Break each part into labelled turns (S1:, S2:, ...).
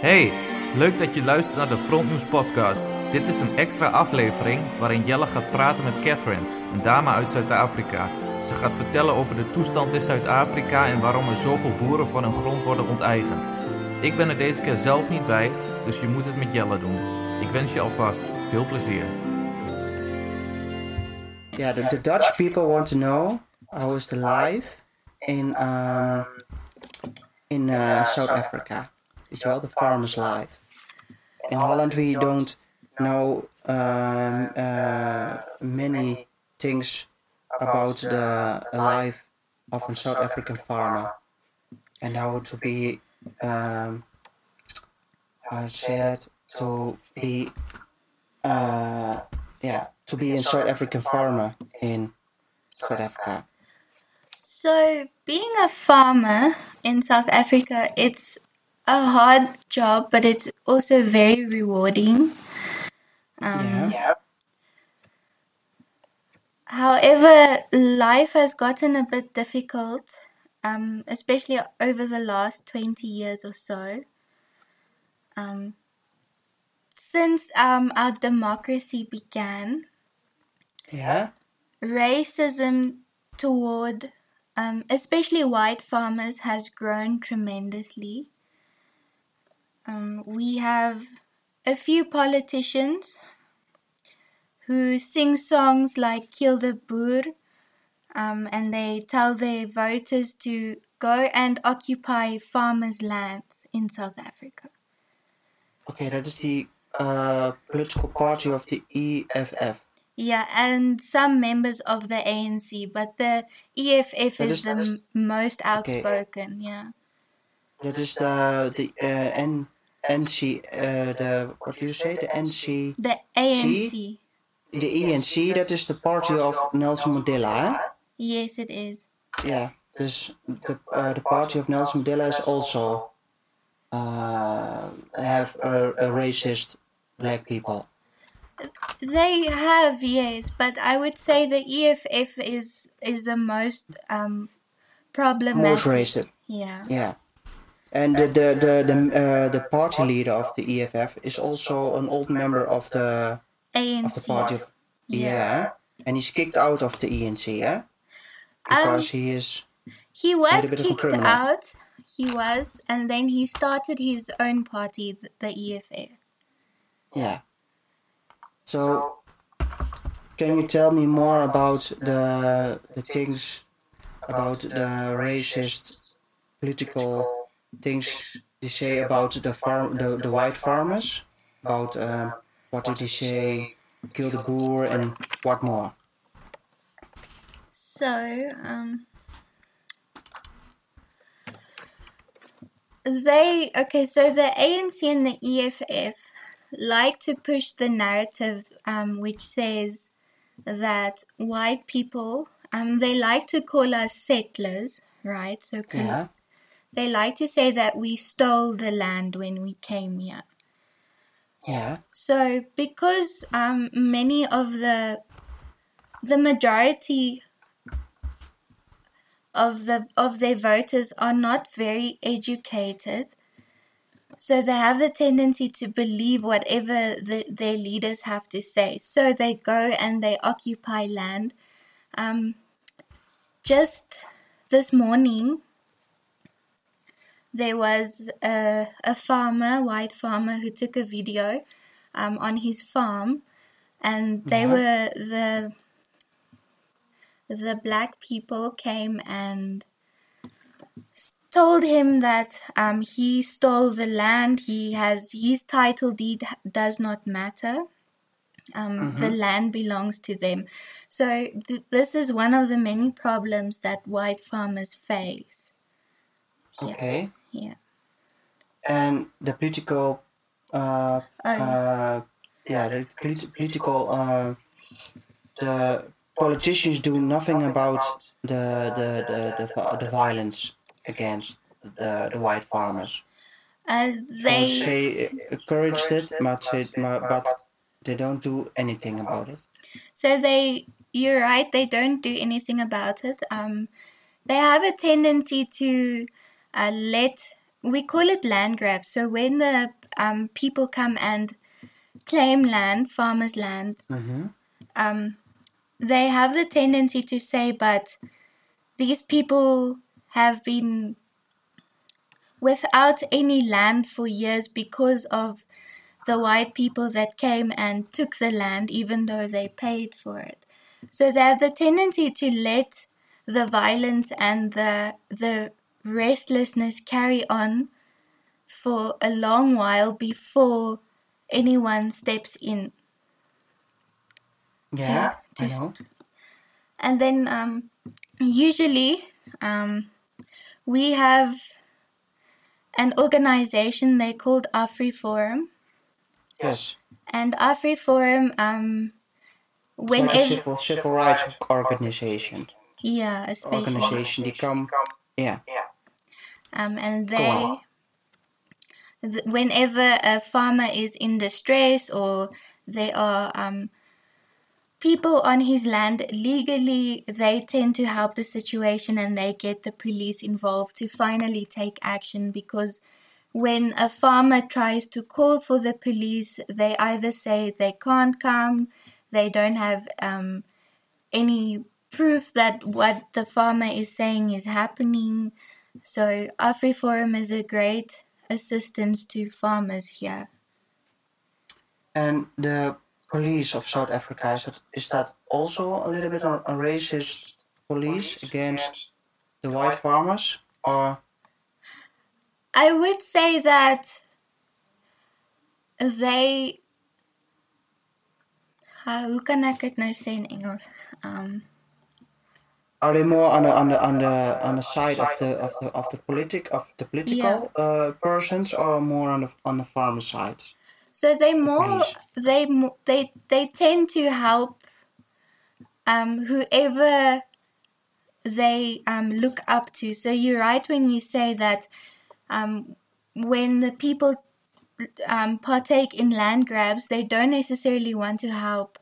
S1: Hey, leuk dat je luistert naar de Frontnieuws podcast. Dit is een extra aflevering waarin Jelle gaat praten met Catherine, een dame uit Zuid-Afrika. Ze gaat vertellen over de toestand in Zuid-Afrika en waarom er zoveel boeren van hun grond worden onteigend. Ik ben er deze keer zelf niet bij, dus je moet het met Jelle doen. Ik wens je alvast veel plezier.
S2: Yeah, the, the Dutch people want to know how is the life in um, in uh, South Africa. Weet je wel, the farmer's life. In Holland we don't know um, uh, many things about the life of a South African farmer and how to be um, how to say that to be uh, yeah to be a South African farmer in South Africa.
S3: So, being a farmer in South Africa, it's a hard job, but it's also very rewarding.
S2: Yeah.
S3: However, life has gotten a bit difficult, um, especially over the last 20 years or so. Um, since um, our democracy began,
S2: Yeah.
S3: racism toward um, especially white farmers has grown tremendously. Um, we have a few politicians who sing songs like Kill the Boer um, and they tell their voters to go and occupy farmers' lands in South Africa.
S2: Okay, that is the uh, political party of the E EFF.
S3: Yeah, and some members of the ANC, but the EFF
S2: That
S3: is
S2: is-
S3: the
S2: that is-
S3: m- most outspoken. Yeah,
S2: That is the the uh, N NC uh, the what do you say the NC
S3: the ANC.
S2: the ENC that is the party of Nelson Mandela. Hè?
S3: Yes, it is.
S2: Yeah. Dus the uh, the party of Nelson Mandela is also uh, have a, a racist black people.
S3: They have yes, but I would say the EFF is is the most um problematic.
S2: Most racist.
S3: Yeah.
S2: Yeah. And the the the the, uh, the party leader of the EFF is also an old member of the
S3: ANC.
S2: of the party of
S3: Yeah.
S2: yeah. and he's kicked out of the ENC, yeah,
S3: Um,
S2: because he is
S3: he
S2: had
S3: was
S2: a bit of a
S3: kicked
S2: criminal.
S3: out. He was, and then he started his own party, th- the E EFF.
S2: yeah. So, can you tell me more about the the things about the racist political things they say about the farm the, the white farmers about um, what did they say kill the boer and what more?
S3: So, um, they okay. So the ANC and the EFF like to push the narrative, um, which says that white people, um, they like to call us settlers, right? So col-
S2: Yeah,
S3: they like to say that we stole the land when we came here.
S2: yeah,
S3: So, because um, many of the the majority of the of their voters are not very educated, so they have the tendency to believe whatever the, their leaders have to say. So they go and they occupy land. Um, just this morning, there was a, a farmer, white farmer, who took a video um, on his farm, and they
S2: Yeah.
S3: were the the black people came and s- told him that um, he stole the land. He has his title deed h- does not matter. Um, The land belongs to them. So th- this is one of the many problems that white farmers face. Yeah.
S2: okay.
S3: Yeah.
S2: and the political uh,
S3: Oh, yeah.
S2: uh, yeah the polit- political uh, the politicians do nothing about the the, the, the, vi- the violence against the, the white farmers
S3: Uh,
S2: they
S3: they
S2: say encourage it but, it but they don't do anything about it
S3: so they you're right they don't do anything about it um they have a tendency to uh, let we call it land grab. So when the um, people come and claim land, farmers' lands, um, they have the tendency to say, but these people have been without any land for years because of the white people that came and took the land, even though they paid for it. So they have the tendency to let the violence and the the restlessness carry on for a long while before anyone steps in.
S2: Yeah, I
S3: just-
S2: know.
S3: And then um, usually um, we have an organization they called Afri Forum.
S2: Yes.
S3: And Afri Forum, um,
S2: It's
S3: when
S2: like a civil, civil rights organization.
S3: yeah, especially
S2: Organization, they come. Yeah.
S3: um, and they
S2: on.
S3: th- whenever a farmer is in distress or there are um, people on his land legally they tend to help the situation and they get the police involved to finally take action because when a farmer tries to call for the police they either say they can't come they don't have um, any proof that what the farmer is saying is happening. So AfriForum is a great assistance to farmers here.
S2: And the police of South Africa is that is that also a little bit on, on racist police against the white farmers or
S3: I would say that they uh, hoe kan ek dit nou sê in Engels? Um
S2: are they more on the on the on the on the side of the of the of the politic of the political uh, persons or more on the on the farmer side?
S3: So they more
S2: police.
S3: they mo- they they tend to help um, whoever they um, look up to. So you're right when you say that um, when the people um, partake in land grabs, they don't necessarily want to help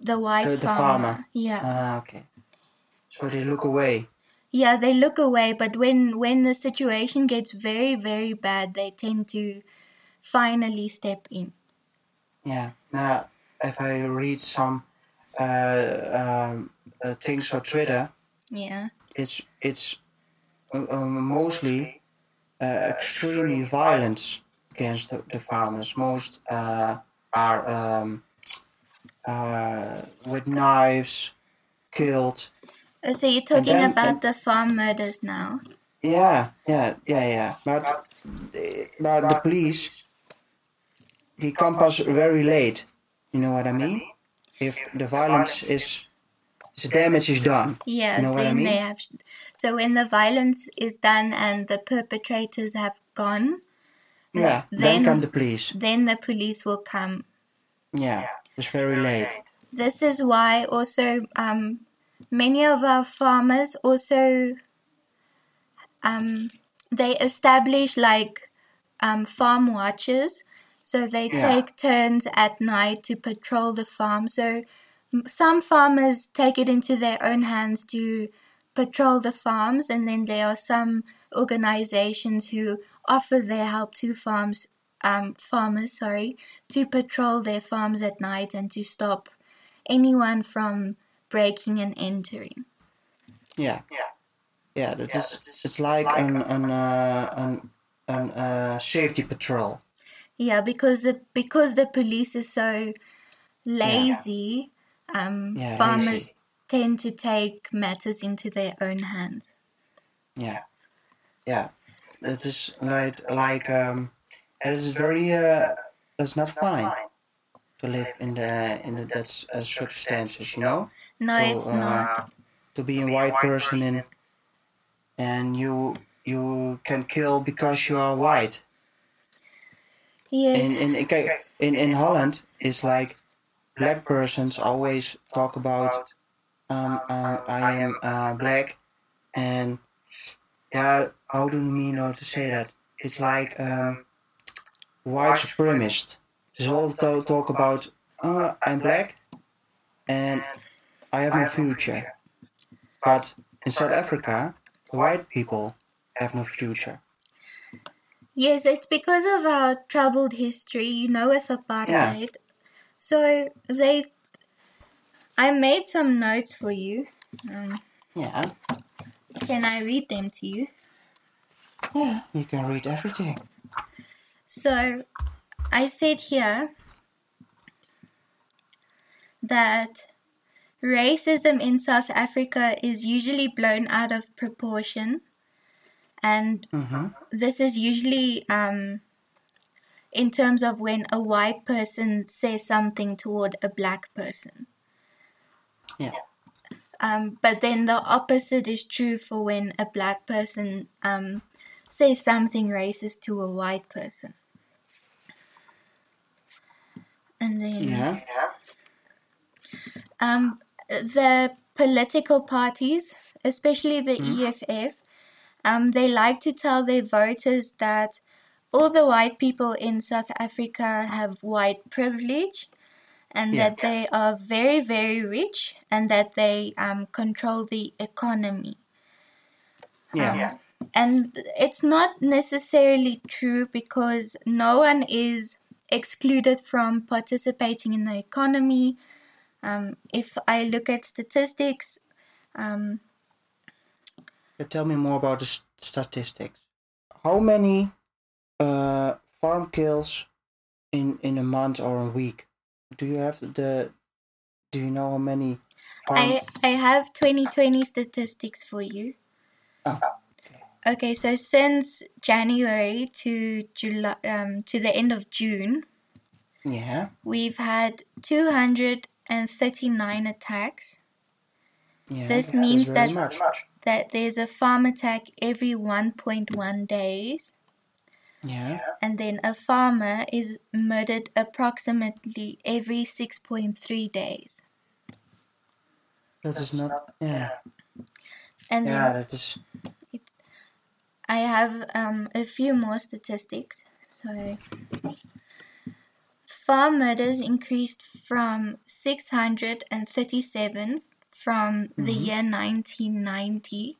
S3: the white
S2: The- the farmer.
S3: Yeah,
S2: Ah, okay. So they look away.
S3: yeah, they look away. But when when the situation gets very very bad, they tend to finally step in.
S2: Yeah. Now, if I read some uh, um, uh, things on Twitter,
S3: Yeah.
S2: it's it's uh, um, mostly uh, extremely violence against the, the farmers. Most uh, are um, uh, with knives, killed.
S3: Uh, So you're talking
S2: then-
S3: about the farm murders now.
S2: Yeah, yeah, yeah, yeah. But the, but the police, they come us very late. You know what I mean? If the violence is, the damage is done.
S3: Yeah,
S2: You know what
S3: then
S2: I
S3: they
S2: mean?
S3: have. So when the violence is done and the perpetrators have gone,
S2: Yeah.
S3: then-
S2: Then come the police.
S3: then the police will come.
S2: Yeah, it's very late.
S3: This is why also um, many of our farmers also um, they establish like um, farm watches. So they
S2: Yeah.
S3: take turns at night to patrol the farm. So m- some farmers take it into their own hands to patrol the farms, and then there are some organizations who offer their help to farms, um, farmers, sorry, to patrol their farms at night and to stop anyone from breaking and entering.
S2: Yeah. Yeah, that is, it's like an an uh, an an uh, safety patrol.
S3: Yeah, because the because the police is so lazy, um,
S2: Yeah,
S3: farmers
S2: lazy.
S3: tend to take matters into their own hands.
S2: Yeah, yeah, that is like like um, it is very uh, it's not fine to live in the in the, that uh, circumstances, you know,
S3: No,
S2: So,
S3: it's
S2: uh,
S3: not.
S2: to be a white person and and you you can kill because you are white.
S3: Yes,
S2: In in in, kijk, in, in Holland is like black persons always talk about um, uh, I am uh, black, and yeah, how do you mean how to say that? It's like um, white supremacist. There's all to- talk about uh, I'm black, and I have no future. But in South Africa, white people have no future.
S3: Yes, it's because of our troubled history, you know, with apartheid. So they, I made some notes for you. Um,
S2: Yeah.
S3: can I read them to you?
S2: Yeah. You can read everything.
S3: So I said here that racism in South Africa is usually blown out of proportion, and
S2: Mm-hmm.
S3: this is usually um, in terms of when a white person says something toward a black person.
S2: Yeah.
S3: Um, but then the opposite is true for when a black person um, says something racist to a white person. And then
S2: Yeah.
S3: um, the political parties, especially the EFF, um, they like to tell their voters that all the white people in South Africa have white privilege and
S2: Yeah.
S3: that they are very, very rich and that they um, control the economy.
S2: Yeah.
S3: And it's not necessarily true because no one is excluded from participating in the economy. Um, if I look at statistics, um,
S2: But tell me more about the s- statistics. How many uh, farm kills in in a month or a week? Do you have the? Do you know how many? Farm...
S3: I, I have 2020 statistics for you.
S2: Oh,
S3: Okay, so since January to July um, to the end of June,
S2: yeah,
S3: we've had 239 attacks.
S2: yeah.
S3: This
S2: that's
S3: means
S2: very
S3: that-
S2: much.
S3: That there's a farm attack every 1.1 days.
S2: Yeah,
S3: and then a farmer is murdered approximately every 6.3 days.
S2: that is not. Yeah,
S3: And then
S2: yeah, that is.
S3: I have um, a few more statistics. So, farm murders increased from 637 from the
S2: Mm-hmm.
S3: year 1990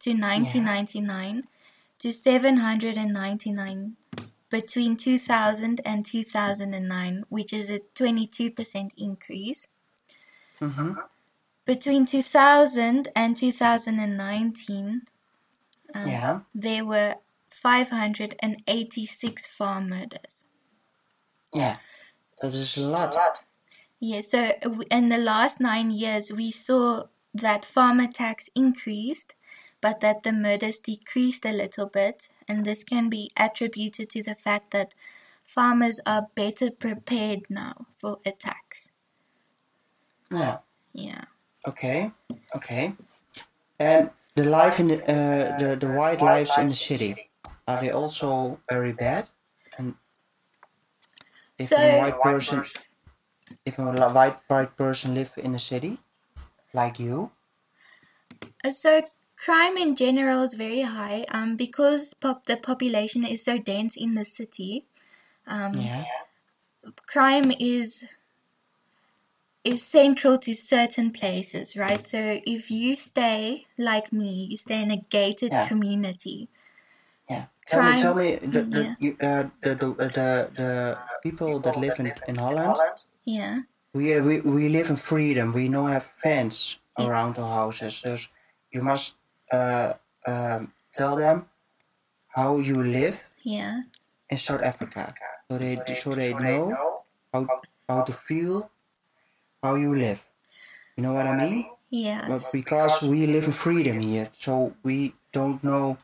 S3: to 1999 to 799 between 2000 and 2009, which is a 22% increase.
S2: Mm-hmm.
S3: between 2000 and 2019, um,
S2: Yeah,
S3: there were 586 farm murders.
S2: yeah, that is a lot.
S3: Yeah, so uh, w- in the last nine years, we saw that farm attacks increased, but that the murders decreased a little bit, and this can be attributed to the fact that farmers are better prepared now for attacks.
S2: Yeah.
S3: Yeah.
S2: Okay. Okay. And the life in the uh, the the wildlife in the city are they also very bad? And if
S3: So-
S2: a white person, if a li- white white person live in a city, like you,
S3: Uh, So crime in general is very high um, because pop- the population is so dense in the city. Um,
S2: yeah,
S3: Crime is is central to certain places, right? So if you stay like me, you stay in a gated
S2: Yeah.
S3: community.
S2: yeah. Tell me,
S3: Crime-
S2: tell me the the
S3: yeah.
S2: you, uh, the, the uh, the the people that live in in Holland.
S3: Yeah.
S2: We uh, we we live in freedom. We no have fence
S3: Yeah.
S2: around our houses. So you must uh, um, tell them how you live
S3: Yeah.
S2: in South Africa. So they so they know how how to feel, how you live. You know what I mean?
S3: Yeah.
S2: But because we live in freedom here, so we don't know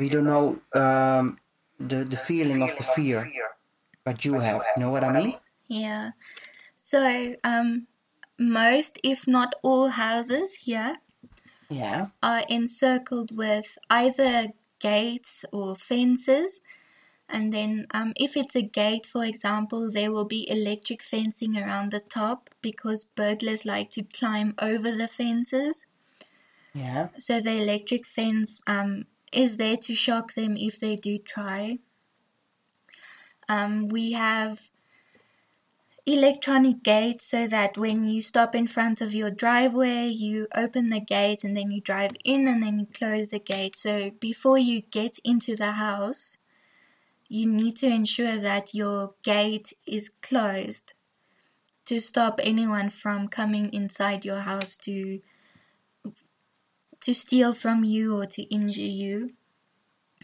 S2: we don't know um, the the feeling of the fear that you have. You know what I mean?
S3: Yeah. So um, most, if not all, houses here
S2: Yeah.
S3: are encircled with either gates or fences. And then, um, if it's a gate, for example, there will be electric fencing around the top because burglars like to climb over the fences.
S2: Yeah.
S3: So, the electric fence um, is there to shock them if they do try. Um, we have electronic gates so that when you stop in front of your driveway, you open the gate and then you drive in and then you close the gate. So before you get into the house, you need to ensure that your gate is closed to stop anyone from coming inside your house to to steal from you or to injure you.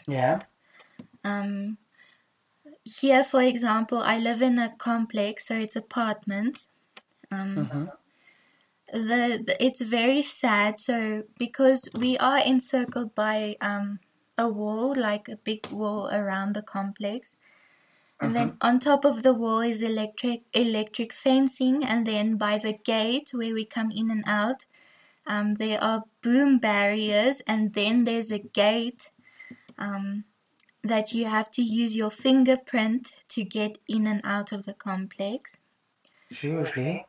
S2: Yeah.
S3: Um, here, for example, I live in a complex, so it's apartments. Um, the, the it's very sad. So because we are encircled by um, a wall, like a big wall around the complex, and then on top of the wall is electric electric fencing, and then by the gate where we come in and out, um, there are boom barriers, and then there's a gate um, that you have to use your fingerprint to get in and out of the complex.
S2: Seriously?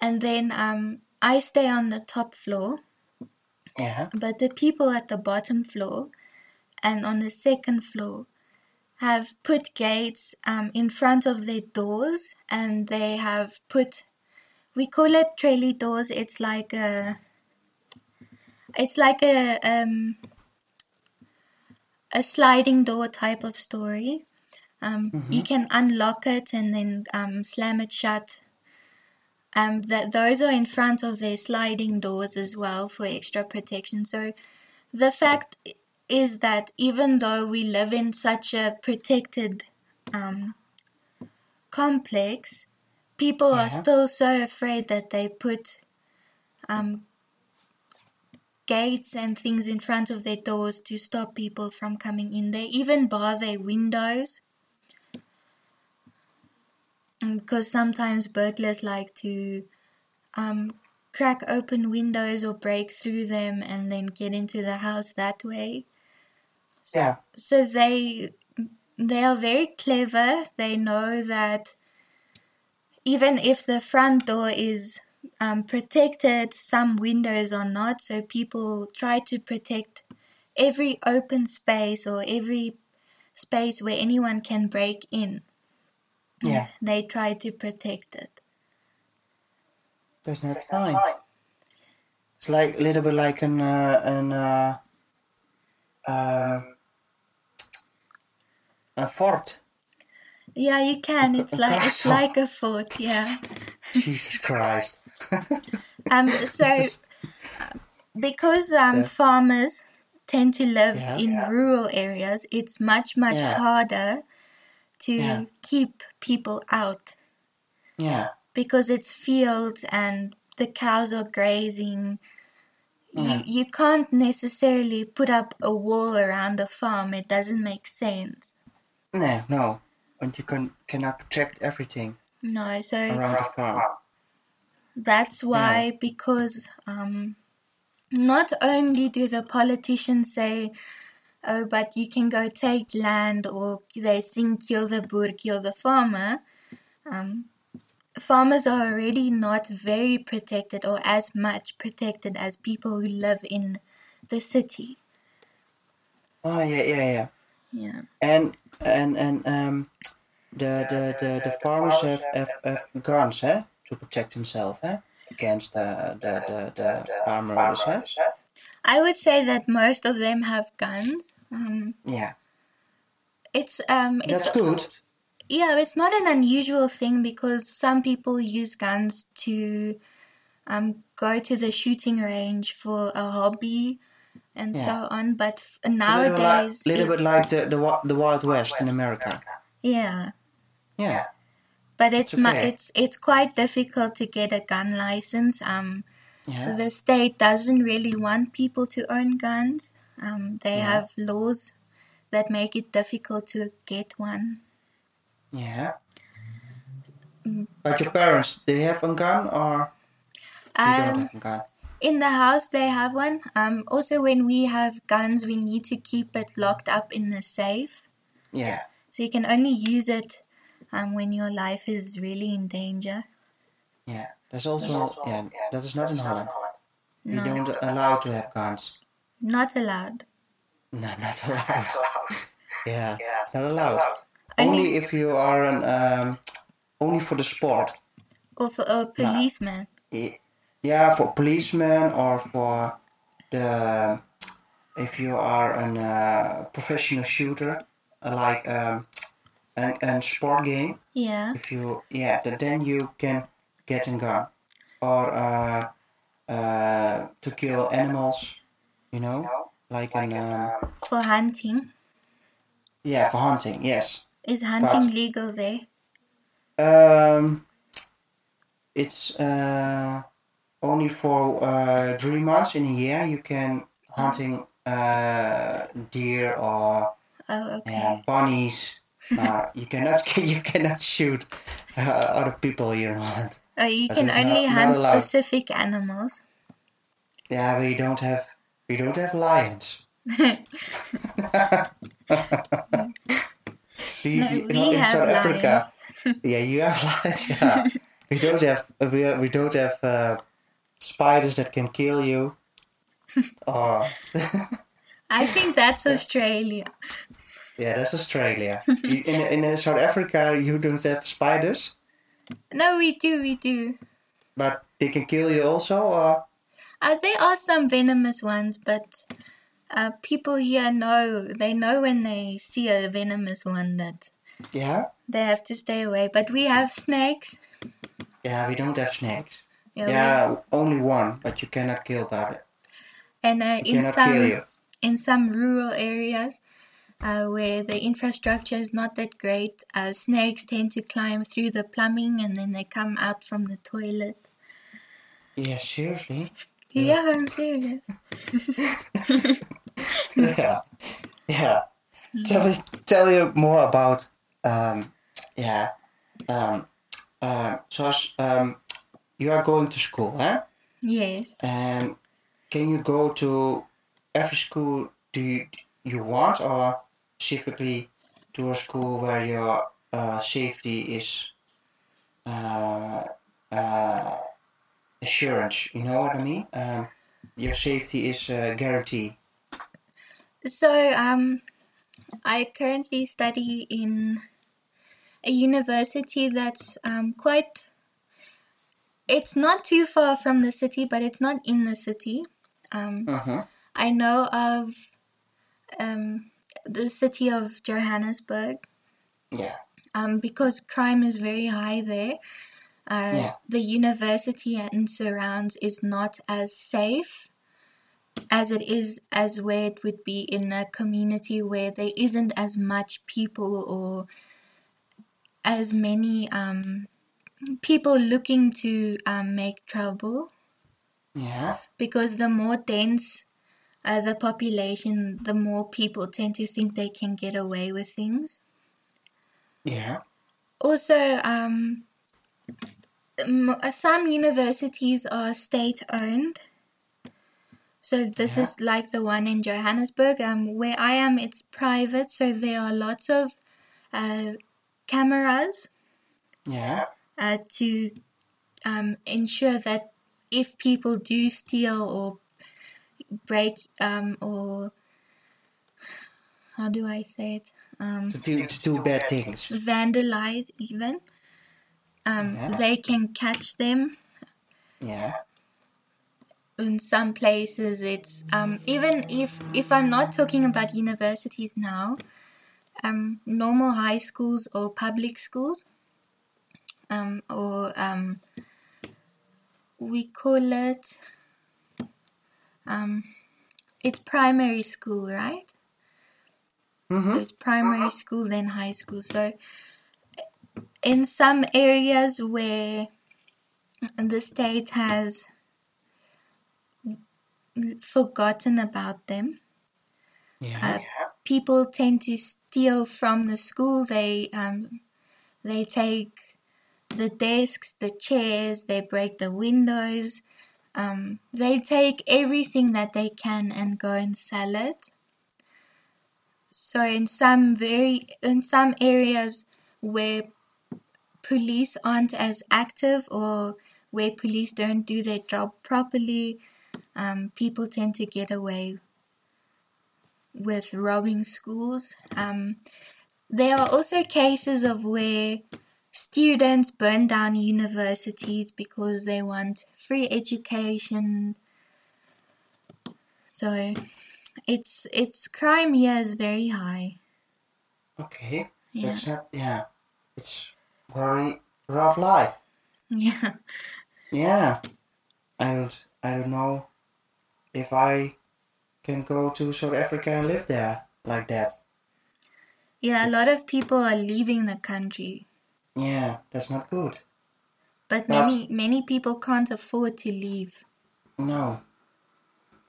S3: And then um, I stay on the top floor,
S2: Yeah.
S3: but the people at the bottom floor and on the second floor have put gates um, in front of their doors and they have put we call it trailer doors it's like a it's like a um, a sliding door type of story um, you can unlock it and then um, slam it shut um, that those are in front of their sliding doors as well for extra protection so the fact is that even though we live in such a protected um, complex, people are
S2: Yeah.
S3: still so afraid that they put um, gates and things in front of their doors to stop people from coming in. They even bar their windows because Mm, sometimes burglars like to um, crack open windows or break through them and then get into the house that way.
S2: Yeah.
S3: So they they are very clever. They know that even if the front door is um, protected, some windows are not. So people try to protect every open space or every space where anyone can break in.
S2: Yeah.
S3: They try to protect it.
S2: That's not fine. It's like a little bit like an uh, an uh, um, a fort.
S3: Yeah, you can. It's
S2: a
S3: like it's
S2: castle.
S3: like a fort. Yeah.
S2: Jesus Christ.
S3: Um. So uh,
S2: This-
S3: because um,
S2: Yeah.
S3: farmers tend to live
S2: Yeah.
S3: in rural areas, it's much much
S2: Yeah.
S3: harder to
S2: Yeah.
S3: keep people out
S2: yeah.
S3: because it's fields and the cows are grazing.
S2: Yeah.
S3: You, you can't necessarily put up a wall around a farm. It doesn't make sense.
S2: No, no. And you can cannot protect everything
S3: No, so
S2: around the farm.
S3: That's why, because um, not only do the politicians say, oh, but you can go take land, or they sing, kill the boer, kill the farmer, um, farmers are already not very protected or as much protected as people who live in the city.
S2: Oh yeah, yeah, yeah.
S3: Yeah.
S2: And and and um, the the the, the farmers have, have, have guns, eh, to protect themselves, eh, against the the the, the farm robbers, eh?
S3: I would say that most of them have guns. Um,
S2: Yeah,
S3: it's um, it's
S2: that's good.
S3: Yeah, it's not an unusual thing because some people use guns to um, go to the shooting range for a hobby and so
S2: Yeah.
S3: on. But f-
S2: A little bit like-
S3: nowadays,
S2: little bit
S3: it's-
S2: like the the, wa- the Wild West in America.
S3: yeah,
S2: Yeah,
S3: but it's
S2: It's
S3: mu-
S2: okay.
S3: it's it's quite difficult to get a gun license. Um,
S2: yeah,
S3: the state doesn't really want people to own guns. Um, they have laws that make it difficult to get one.
S2: yeah.
S3: Mm.
S2: But your parents, they have a gun or they don't
S3: Um,
S2: have a gun?
S3: in the house they have one um also when we have guns we need to keep it locked up in the safe
S2: Yeah,
S3: so you can only use it um, when your life is really in danger
S2: yeah. That's also yeah. That is not in Holland. We
S3: No.
S2: don't allow to have guns.
S3: not allowed
S2: No, not allowed. yeah, not allowed.
S3: Only-
S2: Only, if you are an um, only for the sport.
S3: or for a policeman
S2: I- Yeah, for policemen or for the if you are an uh, professional shooter, uh, like um, and, and sport game
S3: Yeah.
S2: if you yeah th- then you can get a gun or uh, uh, to kill animals you know like an um,
S3: For hunting.
S2: yeah for hunting yes
S3: Is hunting
S2: But-
S3: legal there?
S2: um it's uh only for uh three months in a year you can
S3: Mm-hmm.
S2: hunting uh deer or
S3: Oh, okay.
S2: yeah, bunnies uh, you cannot you cannot shoot uh, other people here in Holland
S3: Oh, you
S2: That
S3: can
S2: is
S3: only
S2: not- not
S3: hunt
S2: allowed.
S3: specific animals.
S2: Yeah, we don't have we don't have lions. Do you,
S3: No,
S2: you
S3: we
S2: know, in
S3: have
S2: South Africa?
S3: lions.
S2: Yeah, you have lions. Yeah, we don't have we, we don't have uh, spiders that can kill you. Oh, Or
S3: I think that's Australia.
S2: yeah, that's Australia. You, in in South Africa, you don't have spiders,
S3: No, we do, we do.
S2: but they can kill you also. Or
S3: Uh, there are some venomous ones, but uh, people here know they know when they see a venomous one that
S2: yeah,
S3: they have to stay away. But we have snakes.
S2: yeah, we don't have snakes.
S3: we-
S2: Yeah, only one, but you cannot kill about it.
S3: and uh,
S2: You
S3: in
S2: cannot
S3: some
S2: kill you.
S3: in some rural areas uh, where the infrastructure is not that great, uh, snakes tend to climb through the plumbing and then they come out from the toilet.
S2: Yeah, seriously.
S3: Yeah, I'm serious.
S2: yeah, yeah. Tell me, tell you more about um, yeah, um, uh, zoals um, you are going to school, huh?
S3: Yes.
S2: And can you go to every school do you, you want, or specifically to a school where your uh, safety is uh, uh, assurance? You know what I mean? Um, your safety is uh, guaranteed.
S3: So, um, I currently study in a university that's um, quite. It's not too far from the city, but it's not in the city. Um,
S2: Uh huh.
S3: I know of um, the city of Johannesburg
S2: Yeah.
S3: um, because crime is very high there. Uh,
S2: Yeah.
S3: The university and surrounds is not as safe as it is as where it would be in a community where there isn't as much people or as many um, people looking to um, make trouble
S2: Yeah.
S3: because the more dense uh, the population, the more people tend to think they can get away with things.
S2: Yeah.
S3: Also, um, m- uh, some universities are state owned. So this is like the one in Johannesburg. Um, where I am, it's private, so there are lots of uh, cameras
S2: Yeah.
S3: uh, to um, ensure that if people do steal or break um, or how do I say it um,
S2: To do to do bad things.
S3: vandalize even um,
S2: Yeah.
S3: they can catch them
S2: Yeah.
S3: in some places it's um, even if if I'm not talking about universities now um, normal high schools or public schools um, or um, we call it um, it's primary school right so
S2: Mm-hmm.
S3: it's primary school then high school so in some areas where the state has forgotten about them
S2: Yeah.
S3: Uh, people tend to steal from the school. They um, they take the desks, the chairs, they break the windows. Um, they take everything that they can and go and sell it. So in some very in some areas where police aren't as active or where police don't do their job properly, um, people tend to get away with robbing schools. Um, there are also cases of where students burn down universities because they want free education. So it's it's crime here is very high.
S2: Okay.
S3: Yeah.
S2: That's not, yeah. It's very rough life.
S3: Yeah.
S2: Yeah. I don't, I don't know if I can go to South Africa and live there like that.
S3: Yeah, a lot
S2: It's-
S3: of people are leaving the country,
S2: Yeah, that's not good.
S3: but
S2: That's-
S3: many many people can't afford to leave.
S2: No.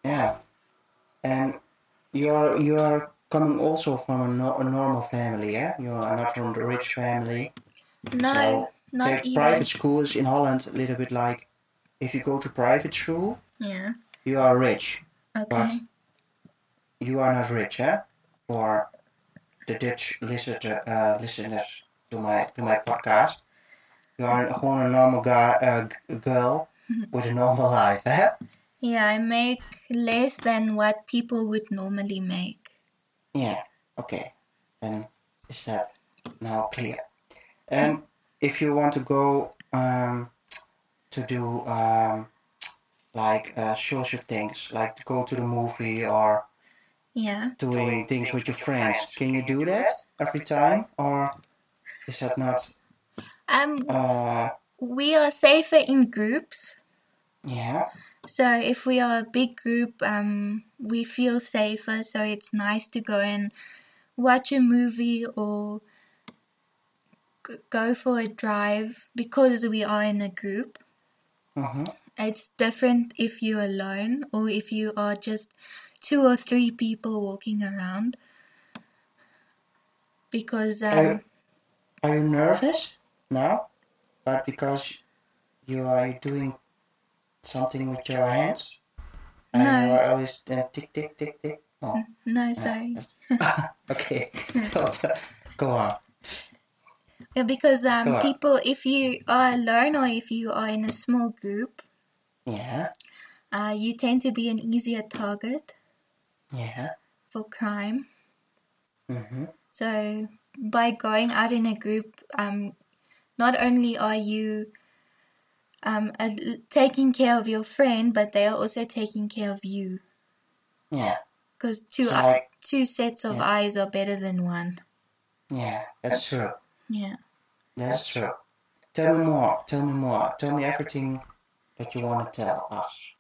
S2: Yeah. And you're you're coming also from a, no, a normal family, yeah? You are not from the rich family.
S3: No,
S2: So,
S3: not
S2: Kijk,
S3: even.
S2: private schools in Holland a little bit like if you go to private school,
S3: Yeah.
S2: you are rich.
S3: Okay.
S2: But you are not rich, eh? For the Dutch listener, uh, listeners to my to my podcast, you are gewoon een normal guy, uh, g- girl with a normal life, eh?
S3: Yeah, I make less than what people would normally make.
S2: Yeah, okay. Then is that now clear? And if you want to go um, to do um, like uh, social things, like to go to the movie or
S3: Yeah.
S2: doing things with your friends, can you do that every time? Or is that not,
S3: Um,
S2: uh,
S3: we are safer in groups.
S2: yeah,
S3: So if we are a big group, um, we feel safer. So it's nice to go and watch a movie or g- go for a drive because we are in a group.
S2: mhm,
S3: It's different if you're alone or if you are just two or three people walking around. Because um,
S2: Um, Are you nervous now? But because you are doing something with your hands? And you
S3: No.
S2: are always uh, tick, tick, tick, tick. Oh, No.
S3: no, sorry,
S2: okay. so, so, go on.
S3: yeah, because um,
S2: Go on.
S3: people, if you are alone or if you are in a small group,
S2: Yeah.
S3: uh, you tend to be an easier target
S2: Yeah.
S3: for crime.
S2: Mm-hmm.
S3: So by going out in a group, um, not only are you um, as- taking care of your friend, but they are also taking care of you.
S2: Yeah.
S3: Because two
S2: So
S3: eye-
S2: like-
S3: two sets of
S2: Yeah.
S3: eyes are better than one.
S2: Yeah. That's true.
S3: Yeah.
S2: That's true. Tell me more. Tell me more. Tell me everything that you want to tell us.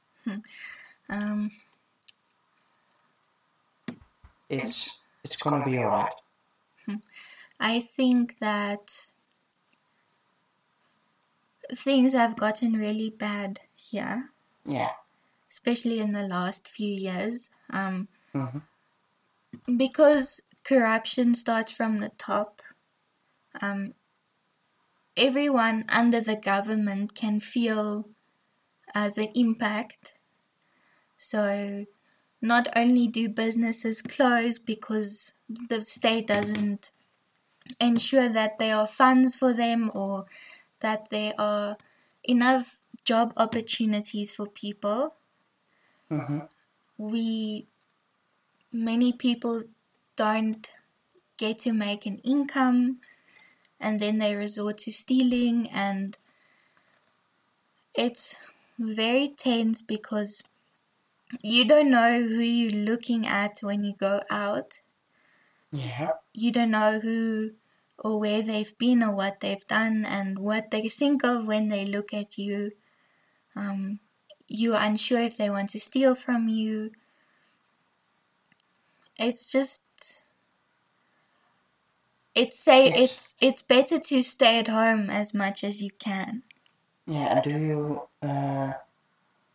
S3: Um.
S2: It's it's gonna be alright.
S3: I think that things have gotten really bad here,
S2: Yeah.
S3: especially in the last few years. Um.
S2: Mm-hmm.
S3: Because corruption starts from the top. Um. Everyone under the government can feel uh, the impact So, not only do businesses close because the state doesn't ensure that there are funds for them or that there are enough job opportunities for people,
S2: Mm-hmm.
S3: we many people don't get to make an income and then they resort to stealing and it's very tense because you don't know who you're looking at when you go out
S2: Yeah.
S3: you don't know who or where they've been or what they've done and what they think of when they look at you. Um, you're unsure if they want to steal from you. It's just it's say
S2: Yes.
S3: it's it's better to stay at home as much as you can.
S2: Yeah. And do you uh,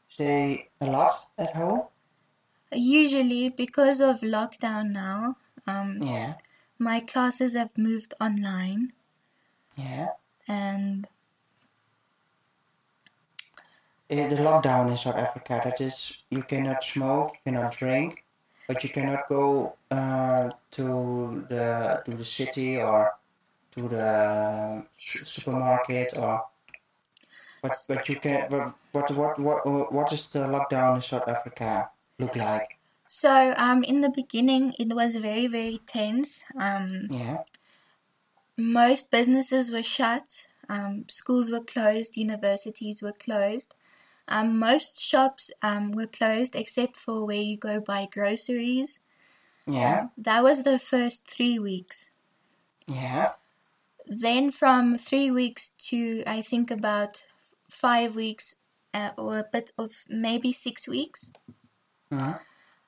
S2: stay a lot at home?
S3: Usually, because of lockdown now, um,
S2: Yeah.
S3: my classes have moved online
S2: Yeah.
S3: and
S2: Eh, the lockdown in South Africa. That is, you cannot smoke, you cannot drink, but you cannot go uh, to the to the city or to the um, su- supermarket or. But but you can. But, but what what what what does the lockdown in South Africa look like?
S3: So, um, in the beginning, it was very, very tense. Um,
S2: Yeah.
S3: most businesses were shut, um, schools were closed, universities were closed. Um, most shops um, were closed except for where you go buy groceries.
S2: Yeah.
S3: That was the first three weeks.
S2: Yeah.
S3: Then from three weeks to I think about five weeks uh, or a bit of maybe six weeks,
S2: Mhm.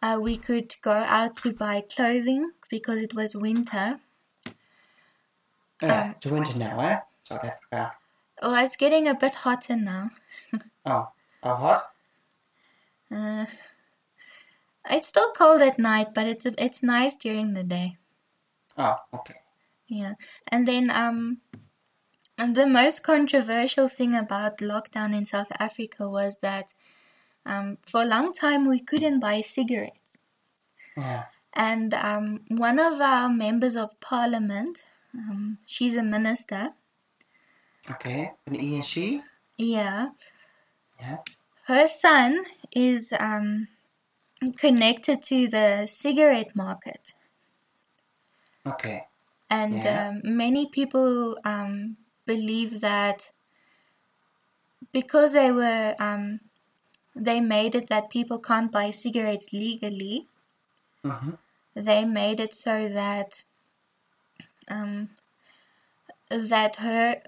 S3: uh, we could go out to buy clothing because it was winter.
S2: Yeah. It's winter now, eh? South Africa.
S3: Oh, it's getting a bit hotter now.
S2: Oh, how hot?
S3: Uh, it's still cold at night, but it's it's nice during the day.
S2: Oh, okay.
S3: Yeah, and then um, and the most controversial thing about lockdown in South Africa was that um, for a long time we couldn't buy cigarettes,
S2: Yeah.
S3: and um, one of our members of parliament, um, she's a minister.
S2: Okay. An E and she?
S3: Yeah,
S2: Yeah.
S3: her son is um connected to the cigarette market.
S2: Okay.
S3: And
S2: Yeah.
S3: um, many people um, believe that because they were um, they made it that people can't buy cigarettes legally.
S2: Mhm.
S3: They made it so that um, that her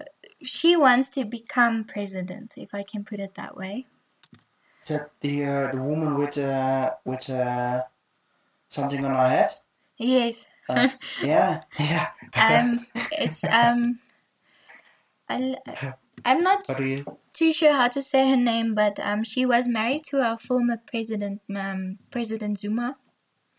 S3: she wants to become president, if I can put it that way.
S2: Is that the uh, the woman with uh with uh something on her head?
S3: Yes.
S2: Uh, yeah. Yeah.
S3: Um, it's um, I, am not
S2: what do you?
S3: too sure how to say her name, but um, she was married to our former president, um, President Zuma.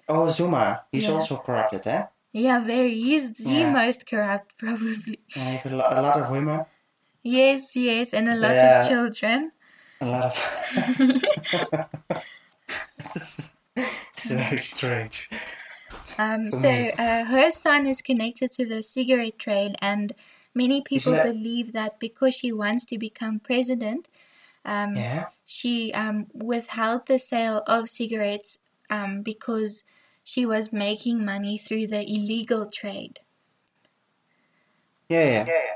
S2: Oh, Zuma. He's
S3: Yeah.
S2: also corrupted, eh?
S3: Yeah, very. He's the
S2: Yeah.
S3: most corrupt, probably.
S2: Yeah, he have a, lo- a lot of women.
S3: Yes, yes, and a lot
S2: Yeah.
S3: of children.
S2: A lot of. it's very strange.
S3: Um, so
S2: Mm.
S3: uh, her son is connected to the cigarette trade, and many people
S2: that-
S3: believe that because she wants to become president, um,
S2: Yeah.
S3: she um, withheld the sale of cigarettes um, because she was making money through the illegal trade.
S2: Yeah. Yeah.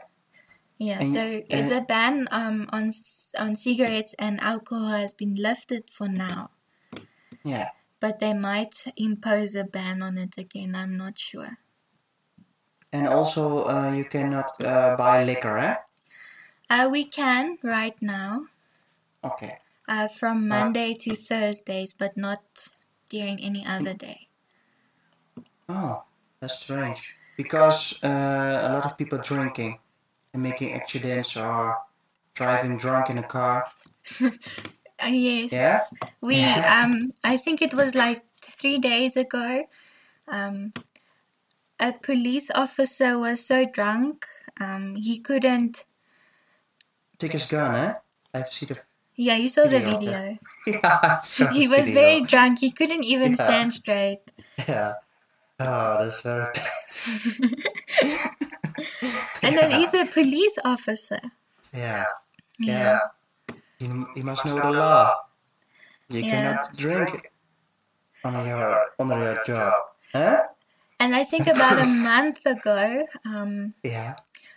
S3: Yeah,
S2: And-
S3: so
S2: and-
S3: the ban um, on s- on cigarettes and alcohol has been lifted for now,
S2: Yeah.
S3: but they might impose a ban on it again. I'm not sure.
S2: And also, uh, you cannot uh, buy liquor, eh?
S3: Uh, we can right now
S2: Okay.
S3: uh, from Monday to Thursdays, but not during any other
S2: Mm.
S3: day.
S2: Oh, that's strange. Because uh, a lot of people drinking and making accidents or driving drunk in a car.
S3: Uh, yes,
S2: Yeah.
S3: we.
S2: Yeah.
S3: Um, I think it was like three days ago. Um, a police officer was so drunk, um, he couldn't.
S2: Take his gun, eh? I see the.
S3: Yeah, you saw the
S2: Video.
S3: video.
S2: Yeah. sorry,
S3: He was
S2: video.
S3: very drunk. He couldn't even
S2: Yeah.
S3: stand straight.
S2: Yeah. Oh, that's very bad.
S3: And then he's a police officer.
S2: Yeah. Yeah. He, he must know the law. You
S3: Yeah.
S2: cannot drink on your on your job, huh?
S3: And I think about a
S2: course.
S3: month ago, um,
S2: Yeah.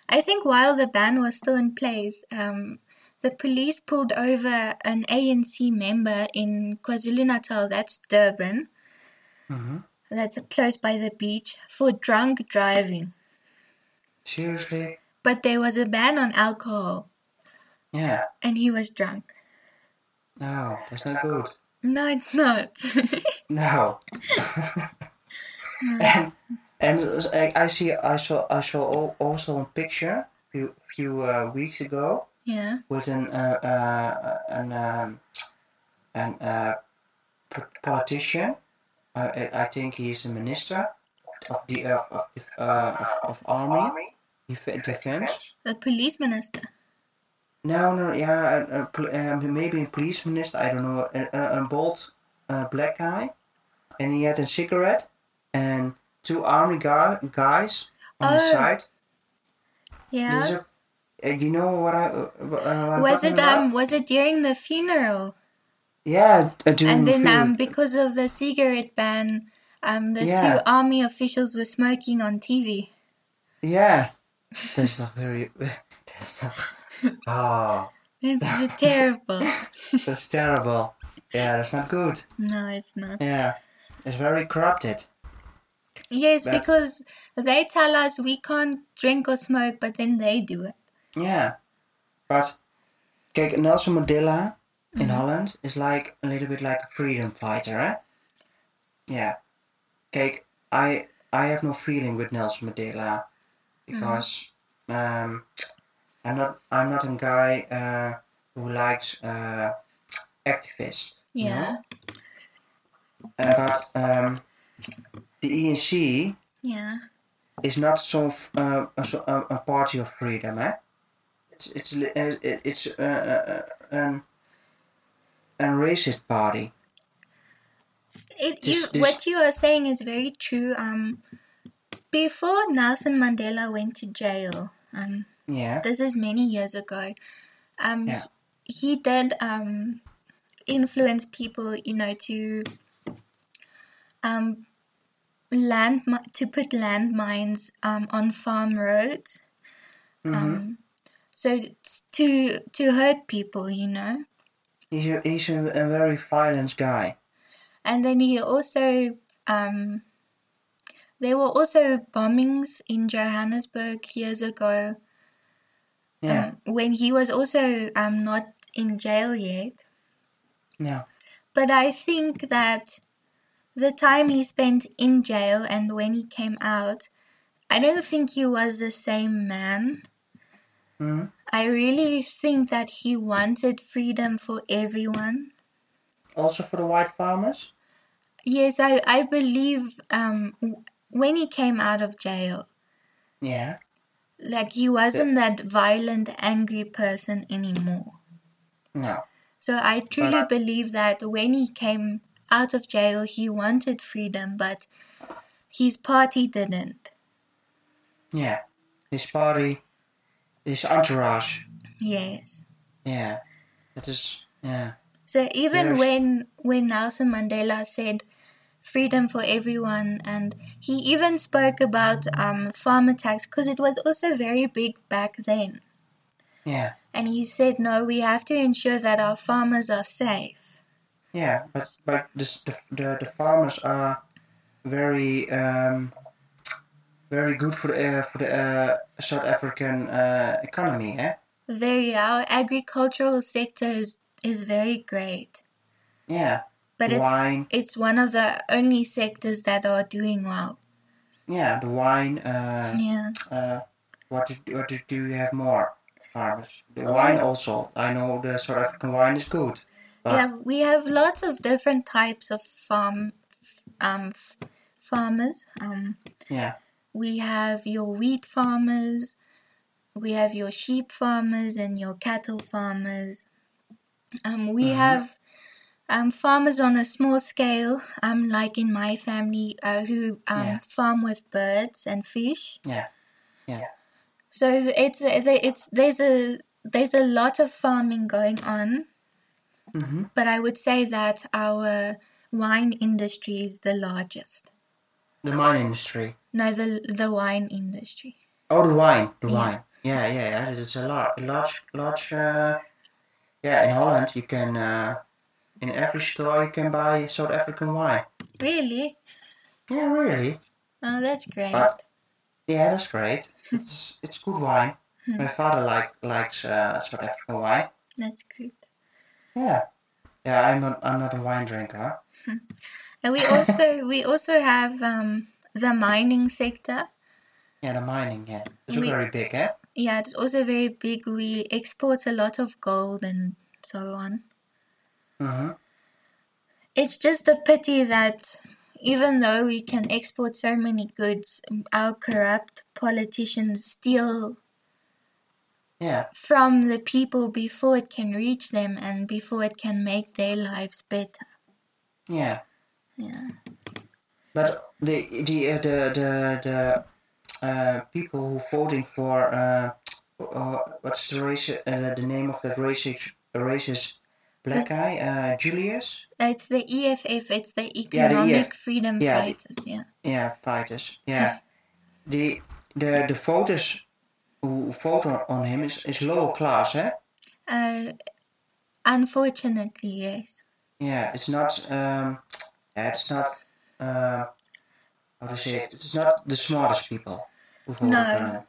S3: I think while the ban was still in place, um, the police pulled over an ANC member in KwaZulu Natal, that's Durban,
S2: Mhm.
S3: that's close by the beach, for drunk driving.
S2: Seriously.
S3: But there was a ban on alcohol,
S2: Yeah.
S3: and he was drunk.
S2: No, that's not good.
S3: No, it's not.
S2: No. and and I, I see I saw I saw al- also a picture few few uh, weeks ago
S3: yeah.
S2: with an uh, uh, an um, an uh, p- politician. Uh, I- I think he's a minister of the of of, uh, of, of army def- defense.
S3: The police minister.
S2: No, no, yeah, uh, uh, pl- uh, maybe a police minister, I don't know, a, a, a bald uh, black guy, and he had a cigarette and two army guy, guys on the
S3: Oh,
S2: side. This is
S3: Yeah.
S2: a- uh, you know what I uh, uh, what I'm
S3: Was
S2: talking
S3: it
S2: about?
S3: um was it during the funeral?
S2: Yeah, uh, during
S3: And
S2: the
S3: then, um,
S2: field.
S3: because of the cigarette ban, um, the
S2: Yeah.
S3: two army officials were smoking on TV.
S2: yeah, that's not very. That's not. Oh,
S3: It's terrible.
S2: that's terrible. Yeah, that's not good.
S3: No, it's not.
S2: Yeah, it's very corrupted.
S3: Yes,
S2: That's-
S3: because they tell us we can't drink or smoke, but then they do it.
S2: Yeah. But kijk, Nelson Mandela in Holland is like a little bit like a freedom fighter, hè? Yeah. Kijk, I I have no feeling with Nelson Mandela because um I'm not I'm not a guy uh, who likes uh activists. you
S3: Yeah.
S2: know? Uh, but um the E ENC
S3: Yeah.
S2: is not so f- uh, a, so- a, a party of freedom, eh? It's it's li- uh, it- it's uh, uh, uh, an an racist party.
S3: It
S2: This-
S3: you
S2: this-
S3: what you are saying is very true. Um before Nelson Mandela went to jail, um
S2: Yeah,
S3: this is many years ago. Um
S2: Yeah.
S3: he, he did um influence people, you know, to um land to put landmines um on farm roads.
S2: Mm-hmm.
S3: Um so it's to to hurt people, you know.
S2: he's a, he's a, a very violent guy.
S3: And then he also, um, there were also bombings in Johannesburg years ago
S2: Yeah,
S3: um, when he was also um, not in jail yet.
S2: yeah,
S3: But I think that the time he spent in jail and when he came out, I don't think he was the same man.
S2: Mhm.
S3: I really think that he wanted freedom for everyone.
S2: Also for the white farmers.
S3: Yes, I, I believe um, w- when he came out of jail,
S2: Yeah,
S3: like he wasn't that violent, angry person anymore.
S2: no,
S3: So I truly
S2: Right.
S3: believe that when he came out of jail, he wanted freedom, but his party didn't.
S2: yeah, his party, his entourage.
S3: Yes.
S2: Yeah, that is yeah,
S3: So even
S2: Yes.
S3: when when Nelson Mandela said freedom for everyone, and he even spoke about um, farmer tax because it was also very big back then.
S2: yeah,
S3: And he said, No, we have to ensure that our farmers are safe.
S2: yeah. But but this, the the the farmers are very um, very good for the uh, for the uh, South African uh, economy, eh?
S3: Very, our agricultural sector is, is very great.
S2: Yeah,
S3: But
S2: Wine.
S3: it's, it's one of the only sectors that are doing well.
S2: yeah. The wine. Uh,
S3: Yeah.
S2: uh, what do, what do, do you have more? Farmers. The wine also. I know the South African wine is good. But
S3: Yeah, we have lots of different types of farm um, f- farmers. Um,
S2: yeah,
S3: we have your wheat farmers, we have your sheep farmers, and your cattle farmers. Um,
S2: Mm-hmm.
S3: we have um, farmers on a small scale, um, like in my family, uh, who um,
S2: Yeah.
S3: farm with birds and fish.
S2: yeah, yeah,
S3: So it's it's there's a there's a lot of farming going on,
S2: Mhm.
S3: but I would say that our wine industry is the largest.
S2: The wine industry.
S3: No, the the wine industry.
S2: Oh, the wine. The
S3: Yeah.
S2: wine. Yeah, yeah, yeah. It's a large, large, large. Uh, yeah, in Holland you can. Uh, in every store you can buy South African wine.
S3: Really?
S2: Yeah, really.
S3: Oh, that's great.
S2: But- Yeah, that's great. It's it's good wine. My father like likes uh, South African wine.
S3: That's good.
S2: Yeah, yeah. I'm not I'm not a wine drinker.
S3: And we also we also have um, the mining sector.
S2: Yeah, the mining. Yeah, it's ook
S3: We-
S2: very big, eh?
S3: Yeah, it's also very big. We export a lot of gold and so on.
S2: Mm-hmm.
S3: It's just a pity that even though we can export so many goods, our corrupt politicians steal
S2: Yeah,
S3: from the people before it can reach them and before it can make their lives better.
S2: yeah.
S3: Yeah.
S2: But the the uh, the the the uh, people who voting for uh, uh what's the race uh, the name of that racist racist black guy uh Julius?
S3: It's the EFF, it's the
S2: Yeah, the
S3: Economic
S2: EF.
S3: Freedom
S2: Yeah, the-
S3: Fighters, yeah.
S2: Yeah, fighters. Yeah, the the the voters who vote on, on him is is lower class, eh?
S3: Uh, unfortunately, yes.
S2: Yeah, it's not um, yeah, it's not uh, how to say it. It's not the smartest people who vote.
S3: No.
S2: uh,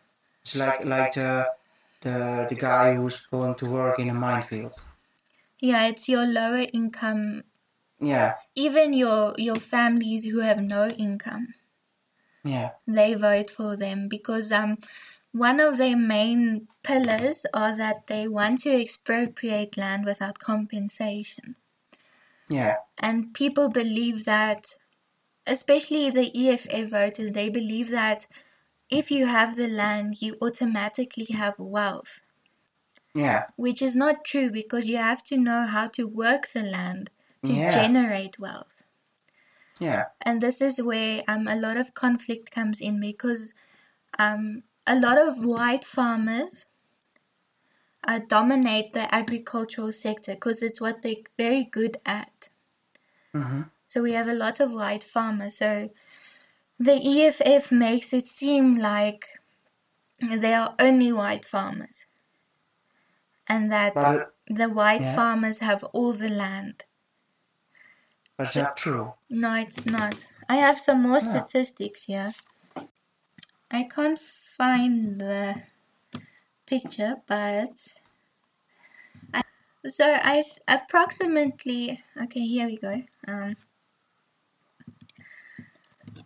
S2: It's like like the, the the guy who's going to work in a minefield.
S3: Yeah, it's your lower income,
S2: Yeah,
S3: even your your families who have no income.
S2: yeah,
S3: They vote for them because um one of their main pillars are that they want to expropriate land without compensation.
S2: yeah,
S3: and people believe that especially the EFA voters they believe that if you have the land you automatically have wealth
S2: yeah,
S3: which is not true because you have to know how to work the land to
S2: Yeah.
S3: generate wealth
S2: yeah,
S3: and this is where um, a lot of conflict comes in because um, a lot of white farmers uh, dominate the agricultural sector because it's what they're very good at.
S2: Mhm.
S3: So we have a lot of white farmers. So the EFF makes it seem like they are only white farmers and that
S2: But-
S3: the white
S2: Yeah.
S3: farmers have all the land.
S2: but it's not true.
S3: No, it's not. I have some more
S2: Ah.
S3: statistics here. I can't find the picture, but I, so I th- approximately okay. Here we go. Um,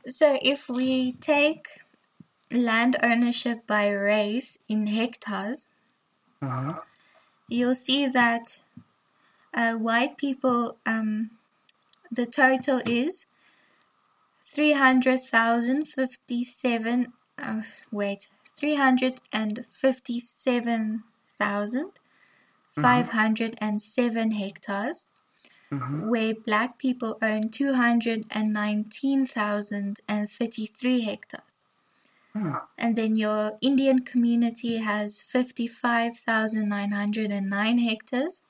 S3: so if we take land ownership by race in hectares,
S2: Uh-huh.
S3: you'll see that uh, white people, um, the total is 300,057. Uh, wait, 357,507 hectares,
S2: mm-hmm.
S3: where black people own 219,033 hectares. And then your Indian community has 55,909 hectares.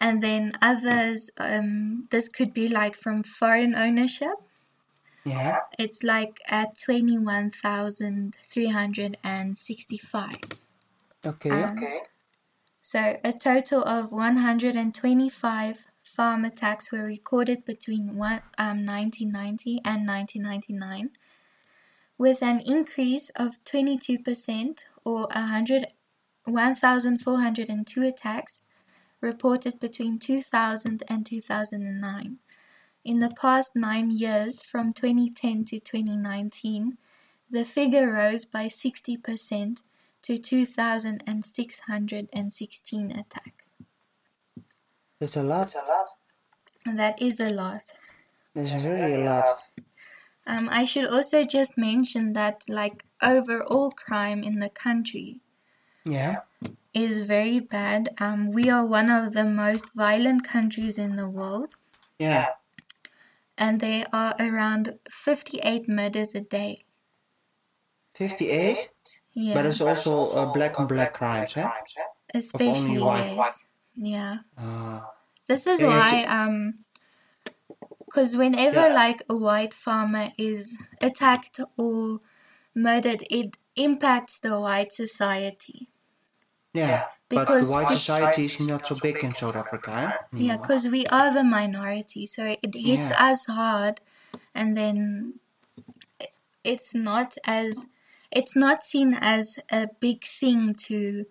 S3: And then others, um, this could be like from foreign ownership.
S2: Yeah,
S3: It's like at 21,365.
S2: okay,
S3: Um, So a total of 125 farm attacks were recorded between one, um, 1990 and 1999, with an increase of 22% or 100 1,402 attacks reported between 2000 and 2009. In the past nine years, from 2010 to 2019, the figure rose by 60% to 2,616 attacks.
S2: it's a lot.
S3: And that is a lot.
S2: It's really a lot.
S3: Um, I should also just mention that, like, overall crime in the country
S2: Yeah,
S3: is very bad. Um, we are one of the most violent countries in the world,
S2: yeah,
S3: and there are around 58 murders a day.
S2: fifty-eight.
S3: Yeah,
S2: But it's also uh, black eh? on black crimes, huh?
S3: especially
S2: one.
S3: yes. Yeah.
S2: Uh,
S3: This is
S2: Yeah,
S3: why,
S2: it's-
S3: um, because whenever
S2: Yeah.
S3: like a white farmer is attacked or murdered, it impacts the white society.
S2: yeah, but the
S3: Because-
S2: white society is not so big in South Africa. Huh?
S3: Yeah,
S2: anymore.
S3: because we are the minority, so it hits
S2: Mm. Yeah.
S3: us hard, and then it- it's not as it's not seen as a big thing to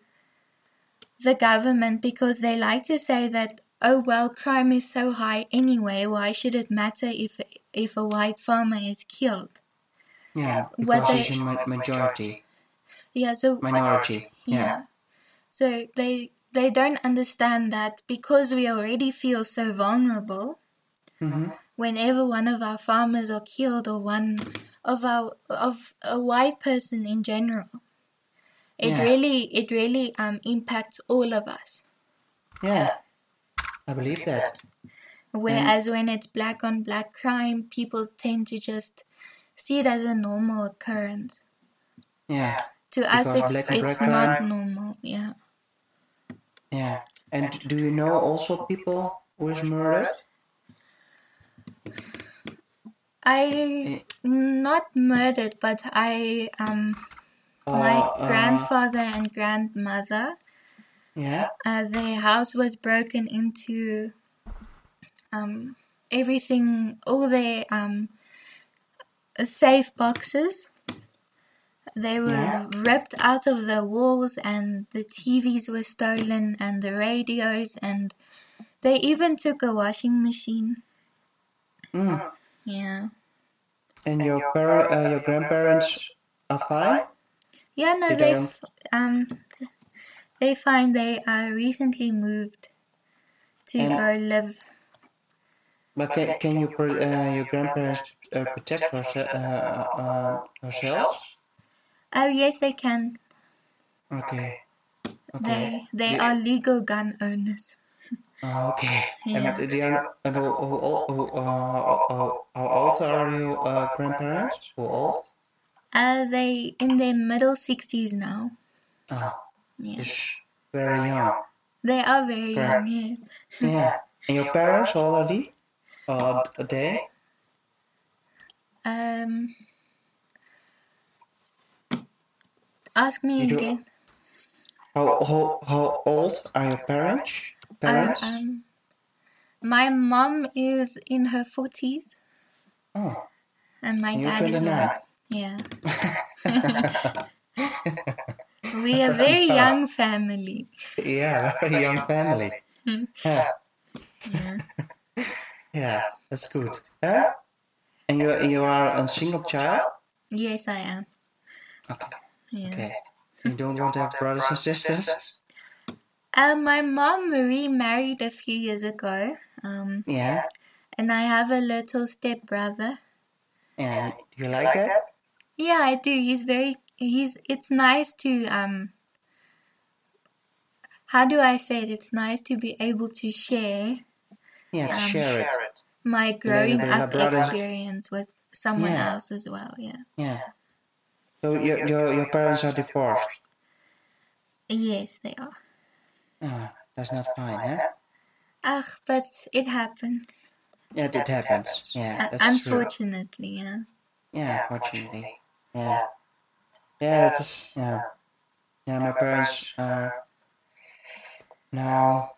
S3: the government because they like to say that oh well crime is so high anyway why should it matter if if a white farmer is killed
S2: yeah,
S3: What
S2: because
S3: they-
S2: it's a ma- majority,
S3: yeah so
S2: minority. Yeah,
S3: So they they don't understand that because we already feel so vulnerable.
S2: Mhm.
S3: Whenever one of our farmers are killed or one of our of a white person in general, it
S2: Yeah.
S3: really it really um impacts all of us.
S2: yeah, I believe that.
S3: Whereas when it's black on black crime, people tend to just see it as a normal occurrence.
S2: Yeah,
S3: To us,
S2: Because
S3: it's
S2: black on
S3: it's
S2: black
S3: not
S2: crime-
S3: normal. Yeah.
S2: yeah. And do you know also people who is murdered? Eh,
S3: I not murdered, but I um my
S2: Uh, uh,
S3: grandfather and grandmother.
S2: Yeah,
S3: Uh, their house was broken into. Um, everything, all their um, safe boxes. They were
S2: Yeah.
S3: ripped out of the walls, and the TVs were stolen, and the radios, and they even took a washing machine.
S2: Mm.
S3: Yeah.
S2: And your par- uh, your grandparents are fine?
S3: Yeah, no,
S2: Did
S3: they
S2: um,
S3: f- um, they find they uh, recently moved to
S2: And-
S3: go live.
S2: But can, can you pr- uh, your grandparents uh, protect herse- uh, uh, uh, herself?
S3: Oh yes, they can.
S2: Okay.
S3: They
S2: Okay.
S3: they
S2: Yeah.
S3: are legal gun owners.
S2: Oh, okay.
S3: Yeah.
S2: And, they are, and who, who, old- who, uh, how how old are your uh, grandparents? Who old?
S3: Uh, they in their middle sixties now.
S2: Oh,
S3: Yeah.
S2: yes. Very young.
S3: They are very
S2: Correct.
S3: young. Yes.
S2: Yeah. And your parents already? Uh, a day?
S3: Um. Ask me
S2: You do-
S3: again.
S2: How, how, how old are your parents?
S3: Oh,
S2: Parents?
S3: um, my mom is in her forties,
S2: Oh,
S3: and my
S2: and you're
S3: dad is young.
S2: 29.
S3: Yeah. we are a very young family.
S2: Yeah, very young family.
S3: Hmm.
S2: Yeah,
S3: Yeah.
S2: yeah, that's good. Yeah? And you, you are a single child?
S3: Yes, I am.
S2: Okay.
S3: Yeah.
S2: okay. You don't want to have brothers and sisters?
S3: Uh, my mom remarried a few years ago, um,
S2: Yeah.
S3: and I have a little stepbrother.
S2: And you like that?
S3: Yeah, I do. He's very. He's. It's nice to um. How do I say it? It's nice to be able to share
S2: Yeah,
S3: Um,
S2: share it.
S3: my growing
S2: then my
S3: up
S2: brother-
S3: experience with someone
S2: Yeah.
S3: else as well. Yeah.
S2: Yeah. So your, your, your parents are divorced?
S3: Yes, they are.
S2: Oh, that's not fine, huh?
S3: Ach, but it happens.
S2: Yeah, it happens. Yeah,
S3: Uh,
S2: that's true.
S3: unfortunately, yeah.
S2: Yeah, unfortunately. Yeah. Yeah, that's yeah. Yeah, my parents uh now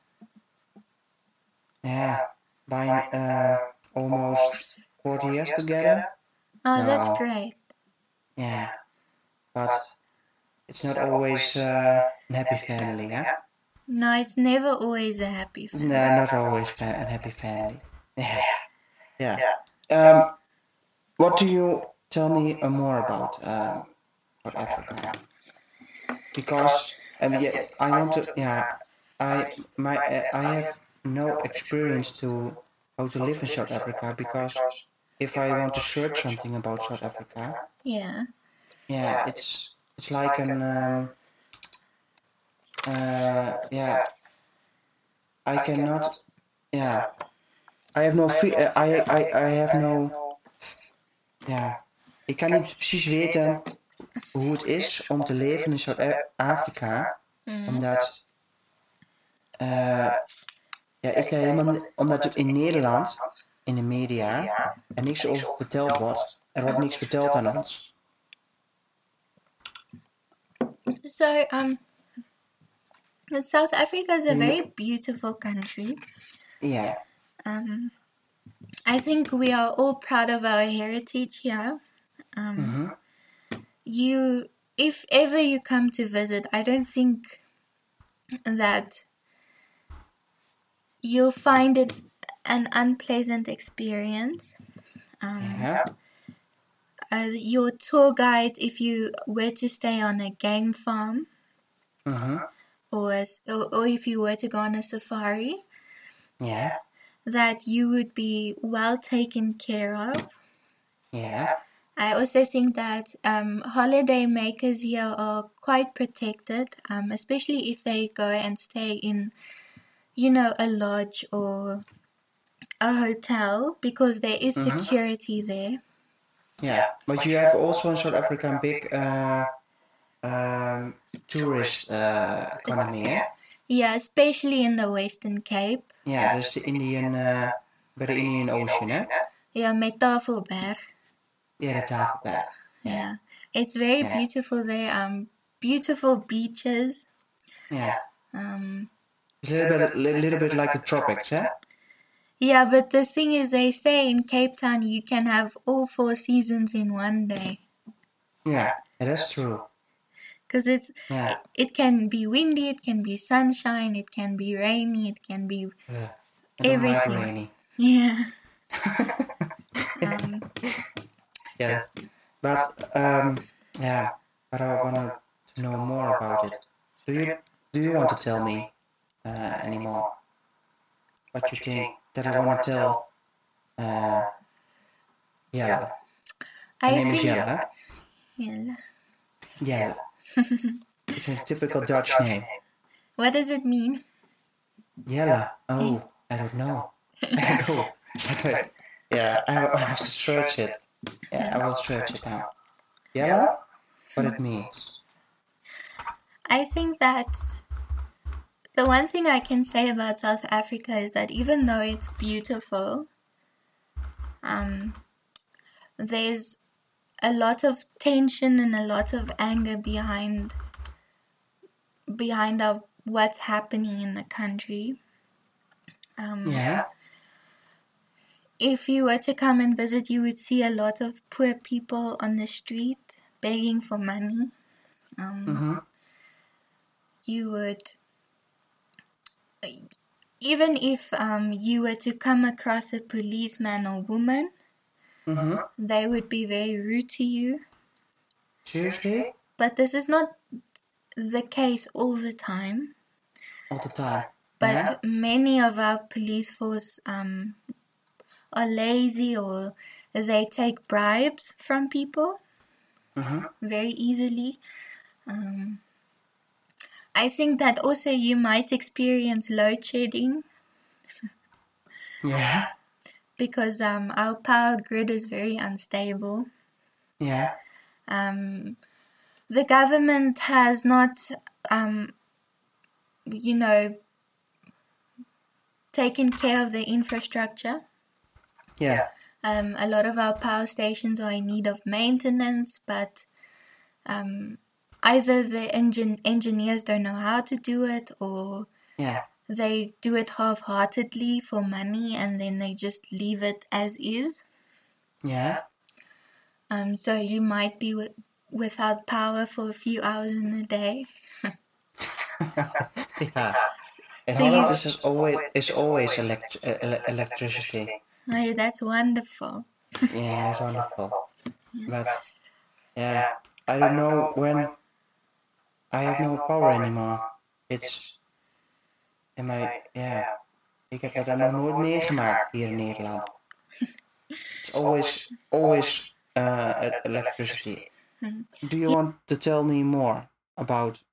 S2: yeah, buying uh almost forty years together.
S3: Oh, that's
S2: No.
S3: great.
S2: Yeah. But it's not always uh an happy family, yeah?
S3: No, it's never always a happy family.
S2: No, not always fa- an happy family. Yeah. Yeah. Um what do you tell me uh, more about um about Africa? Because um, yeah, I want to yeah I my uh, I have no experience to how to live in South Africa because if I want to search something about South Africa,
S3: Yeah.
S2: yeah, it's it's like an um, uh, yeah. I cannot yeah. I have no fe- uh, I, I I have no ja. Ik kan niet precies weten hoe het is om te leven in Zuid-Afrika
S3: Mm.
S2: omdat eh, ja, ik ken helemaal ni- omdat in Nederland in de media er niks over verteld wordt. Er wordt niks verteld aan ons.
S3: So, um, South Africa is a very beautiful country.
S2: Ja,
S3: Um, I think we are all proud of our heritage here. Um,
S2: Hmm.
S3: You, if ever you come to visit, I don't think that you'll find it an unpleasant experience. Um,
S2: ja,
S3: uh, your tour guides, if you were to stay on a game farm,
S2: mhm,
S3: or, as, or, or if you were to go on a safari,
S2: ja,
S3: that you would be well taken care of.
S2: ja,
S3: I also think that um, holiday makers here are quite protected, um, especially if they go and stay in, you know, a lodge or a hotel because there is security there.
S2: ja. But you have also in South Africa a big uh, um, tourist uh, economy, hè?
S3: Yeah, especially in the Western Cape.
S2: Ja, dus de Indian, eh, bij de Indian Ocean, hè?
S3: Yeah, Metafelberg.
S2: Ja, de Tafelberg.
S3: Yeah. It's very
S2: Yeah.
S3: beautiful there. Um, beautiful beaches.
S2: Ja.
S3: Um,
S2: It's a little bit, little bit like the tropics, hè?
S3: Yeah, but the thing is, they say in Cape Town you can have all four seasons in one day
S2: Yeah, that's true.
S3: because it's
S2: Yeah,
S3: it can be windy, it can be sunshine, it can be rainy, it can be
S2: I don't mind
S3: Everything.
S2: rainy.
S3: yeah. um,
S2: Yeah, but um, yeah, but I want to know more about it. Do you do you want to tell me uh, anymore what you think that I want to tell? Uh, yeah, her
S3: I
S2: name is
S3: think
S2: Jelle.
S3: yeah.
S2: Yeah, it's a typical Dutch name.
S3: What does it mean?
S2: Yella. Oh, I don't know. I don't know. But, uh, yeah, I, I have to search it. Yeah, I will search it now. Yella? What it means?
S3: I think that the one thing I can say about South Africa is that even though it's beautiful, um, there's a lot of tension and a lot of anger behind behind of what's happening in the country. Um,
S2: Mm-hmm. Yeah?
S3: if you were to come and visit, you would see a lot of poor people on the street begging for money. Um,
S2: Mm-hmm.
S3: you would even if um, you were to come across a policeman or woman
S2: Mm-hmm.
S3: they would be very rude to you
S2: Seriously?
S3: but this is not the case all the time
S2: All the time.
S3: but
S2: yeah?
S3: many of our police force um, are lazy or they take bribes from people
S2: Mm-hmm.
S3: very easily. Um, I think that also you might experience load shedding
S2: Yeah?
S3: because um, our power grid is very unstable.
S2: Yeah?
S3: Um, the government has not, um, you know, taken care of the infrastructure.
S2: Yeah.
S3: Um, a lot of our power stations are in need of maintenance, but um, either the engin- engineers don't know how to do it or
S2: Yeah.
S3: they do it half heartedly for money and then they just leave it as is.
S2: Yeah?
S3: Um, so you might be wi- without power for a few hours in a day.
S2: Yeah. In
S3: So
S2: Holland,
S3: you-
S2: this is always, is always elect- uh, ele- electricity.
S3: Oh, that's wonderful.
S2: Yeah, that's wonderful. But, Mm-hmm. yeah, uh, I don't know when I have no power anymore. It's in my ja. Ik heb dat nog nooit meegemaakt hier in Nederland. It's always always uh, e- electricity.
S3: Hmm.
S2: Do you want to tell me more about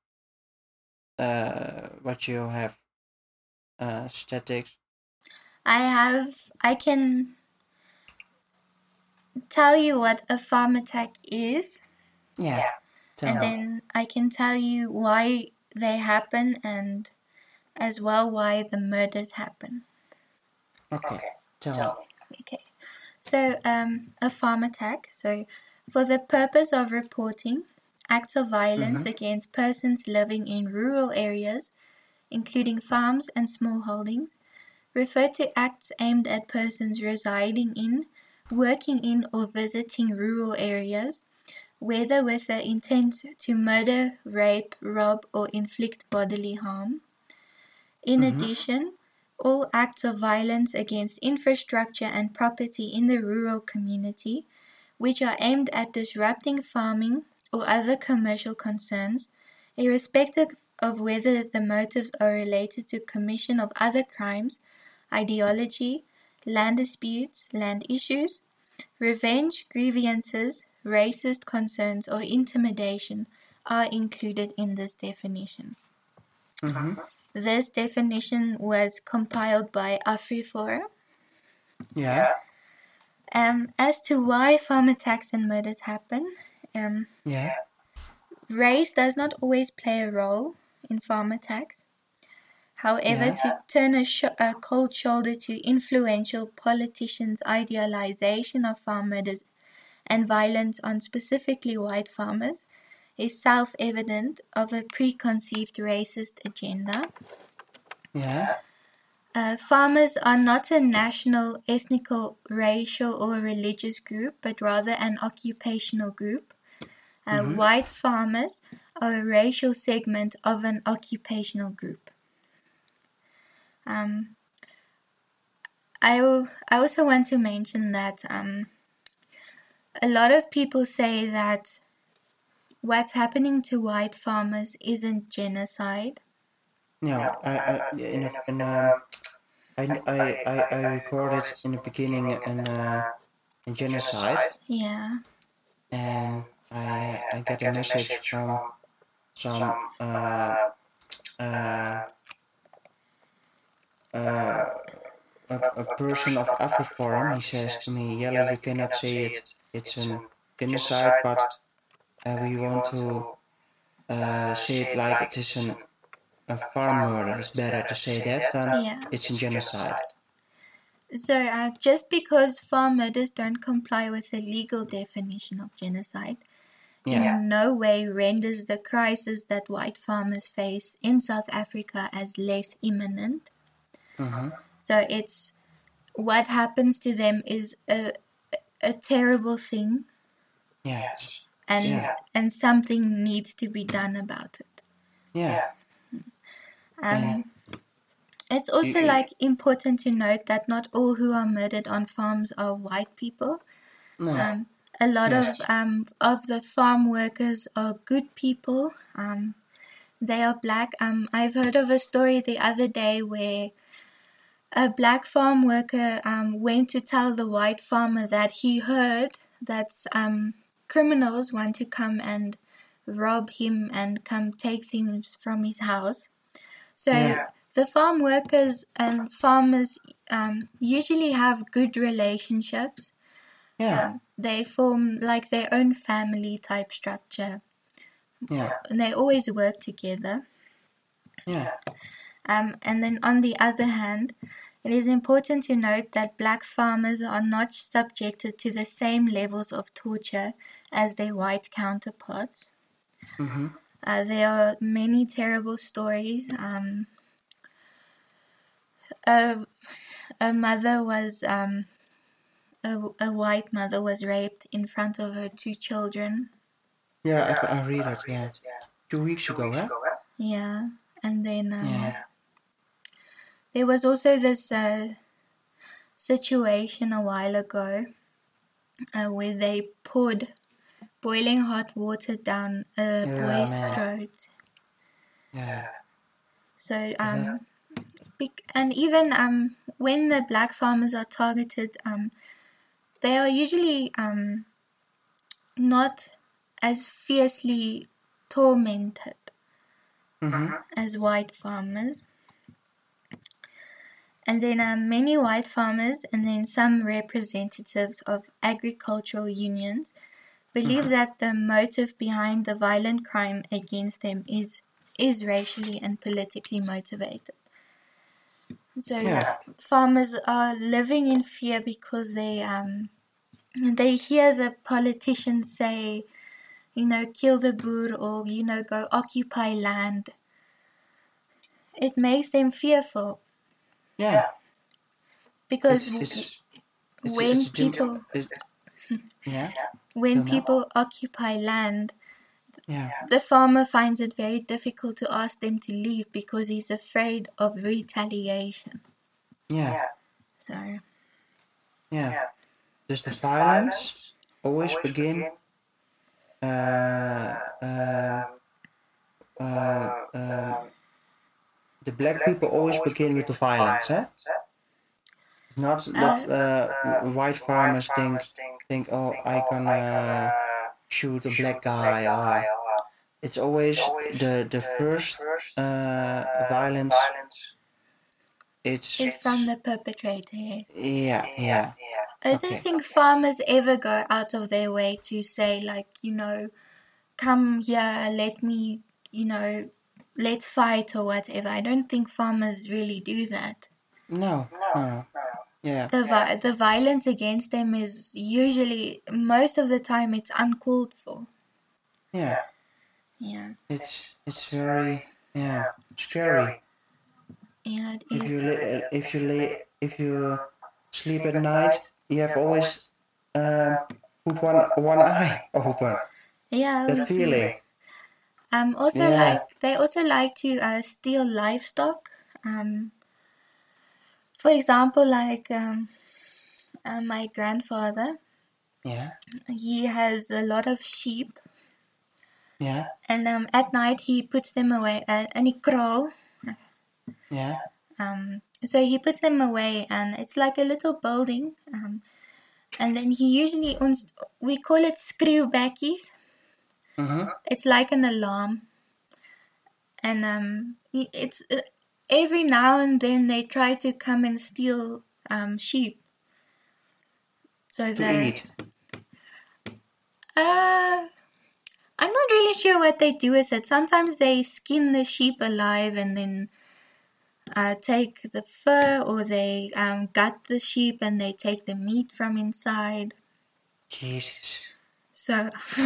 S2: uh, what you have uh, statics?
S3: I have, I can tell you what a farm attack is
S2: Yeah. Tell
S3: and
S2: me.
S3: then I can tell you why they happen and as well why the murders happen.
S2: okay. Tell me.
S3: Okay. So, um, a farm attack. So, for the purpose of reporting acts of violence against persons living in rural areas, including farms and small holdings, refer to acts aimed at persons residing in, working in, or visiting rural areas, whether with the intent to murder, rape, rob, or inflict bodily harm. In addition, all acts of violence against infrastructure and property in the rural community, which are aimed at disrupting farming or other commercial concerns, irrespective of whether the motives are related to commission of other crimes, ideology, land disputes, land issues, revenge, grievances, racist concerns, or intimidation, are included in this definition.
S2: Mm-hmm.
S3: This definition was compiled by AfriForum.
S2: Yeah.
S3: Um, as to why farm attacks and murders happen, um,
S2: Yeah.
S3: race does not always play a role in farm attacks. However,
S2: Yeah.
S3: to turn a, sho a cold shoulder to influential politicians' idealization of farm murders and violence on specifically white farmers is self evident of a preconceived racist agenda.
S2: Yeah.
S3: Uh, farmers are not a national, ethnical, racial, or religious group, but rather an occupational group. Uh, White farmers are a racial segment of an occupational group. Um, I, al- I also want to mention that um, a lot of people say that what's happening to white farmers isn't genocide.
S2: No, I, I, in, a- in, um, I, I, I, I recorded in the beginning an, uh, a genocide,
S3: Yeah.
S2: and I, I got a message from some uh, uh, uh, a, a person of AfriForum. He says to me, Yella, you cannot say it. It's a genocide, but uh, we want to uh, say it like it is an, a farm murder. It's better to say that than
S3: Yeah.
S2: it's a genocide.
S3: So, uh, just because farm murders don't comply with the legal definition of genocide,
S2: Yeah.
S3: in no way renders the crisis that white farmers face in South Africa as less imminent.
S2: Mhm.
S3: So, it's what happens to them is a, a terrible thing,
S2: Yes.
S3: and,
S2: Yeah.
S3: and something needs to be done about it.
S2: Yeah.
S3: Um, it's also
S2: Mm-mm.
S3: like important to note that not all who are murdered on farms are white people.
S2: No.
S3: Um, a lot
S2: Yes.
S3: of um, of the farm workers are good people. Um, they are black. Um, I've heard of a story the other day where a black farm worker um, went to tell the white farmer that he heard that um, criminals want to come and rob him and come take things from his house. So
S2: Yeah.
S3: the farm workers and farmers um, usually have good relationships
S2: Yeah.
S3: um, they form like their own family type structure
S2: Yeah.
S3: and they always work together
S2: Yeah.
S3: um, and then on the other hand it is important to note that black farmers are not subjected to the same levels of torture as their white counterparts
S2: Mhm.
S3: uh, there are many terrible stories um, a, a mother was um, a, a white mother was raped in front of her two children
S2: Yeah, I, f- I read it, yeah. Two weeks ago, huh?
S3: yeah and then um,
S2: Yeah.
S3: There was also this uh, situation a while ago uh, where they poured boiling hot water down
S2: Yeah,
S3: a boy's
S2: man.
S3: throat.
S2: Yeah.
S3: So,
S2: that-
S3: um, bec- and even um, when the black farmers are targeted, um, they are usually um, not as fiercely tormented
S2: Mm-hmm.
S3: as white farmers. And then um, many white farmers and then some representatives of agricultural unions believe that the motive behind the violent crime against them is is racially and politically motivated. So
S2: Yeah.
S3: farmers are living in fear because they um, they hear the politicians say, you know, kill the Boer or you know, go occupy land. It makes them fearful
S2: Yeah.
S3: because
S2: It's, it's, it's,
S3: when
S2: it's a gen-
S3: people
S2: it- yeah.
S3: when
S2: Vilma?
S3: people occupy land,
S2: Yeah.
S3: the farmer finds it very difficult to ask them to leave because he's afraid of retaliation.
S2: Yeah.
S3: So
S2: Yeah. Does the violence always begin uh, uh, uh, um, the black people always begin with the violence, eh? huh? Not that uh, white farmers think think oh I can uh, shoot a black guy ah, or it's always the the first uh, violence it's
S3: it's from the perpetrator. Yes.
S2: yeah yeah
S3: I don't
S2: Okay.
S3: think farmers ever go out of their way to say like you know, come here, let me you know, let's fight or whatever. I don't think farmers really do that.
S2: no no yeah
S3: The vi- the violence against them is usually most of the time it's uncalled for.
S2: yeah
S3: Yeah.
S2: it's it's very yeah scary
S3: Yeah, it
S2: If you
S3: is.
S2: li- if you lay if you sleep at night, you have always um, put one one eye open.
S3: Yeah, I
S2: That
S3: love
S2: feeling.
S3: it. Um, also
S2: Yeah.
S3: like they also like to uh, steal livestock. Um, for example, like um, uh, my grandfather,
S2: Yeah.
S3: he has a lot of sheep,
S2: Yeah.
S3: and um, at night he puts them away, uh, and he crawl.
S2: Yeah.
S3: Um, so he puts them away, and it's like a little building. Um, and then he usually ons- we call it screwbackies.
S2: Mm-hmm.
S3: it's like an alarm and um it's uh, every now and then they try to come and steal um sheep so
S2: To
S3: that
S2: eat.
S3: uh i'm not really sure what they do with it sometimes they skin the sheep alive and then uh, take the fur or they um, gut the sheep and they take the meat from inside
S2: Jesus.
S3: so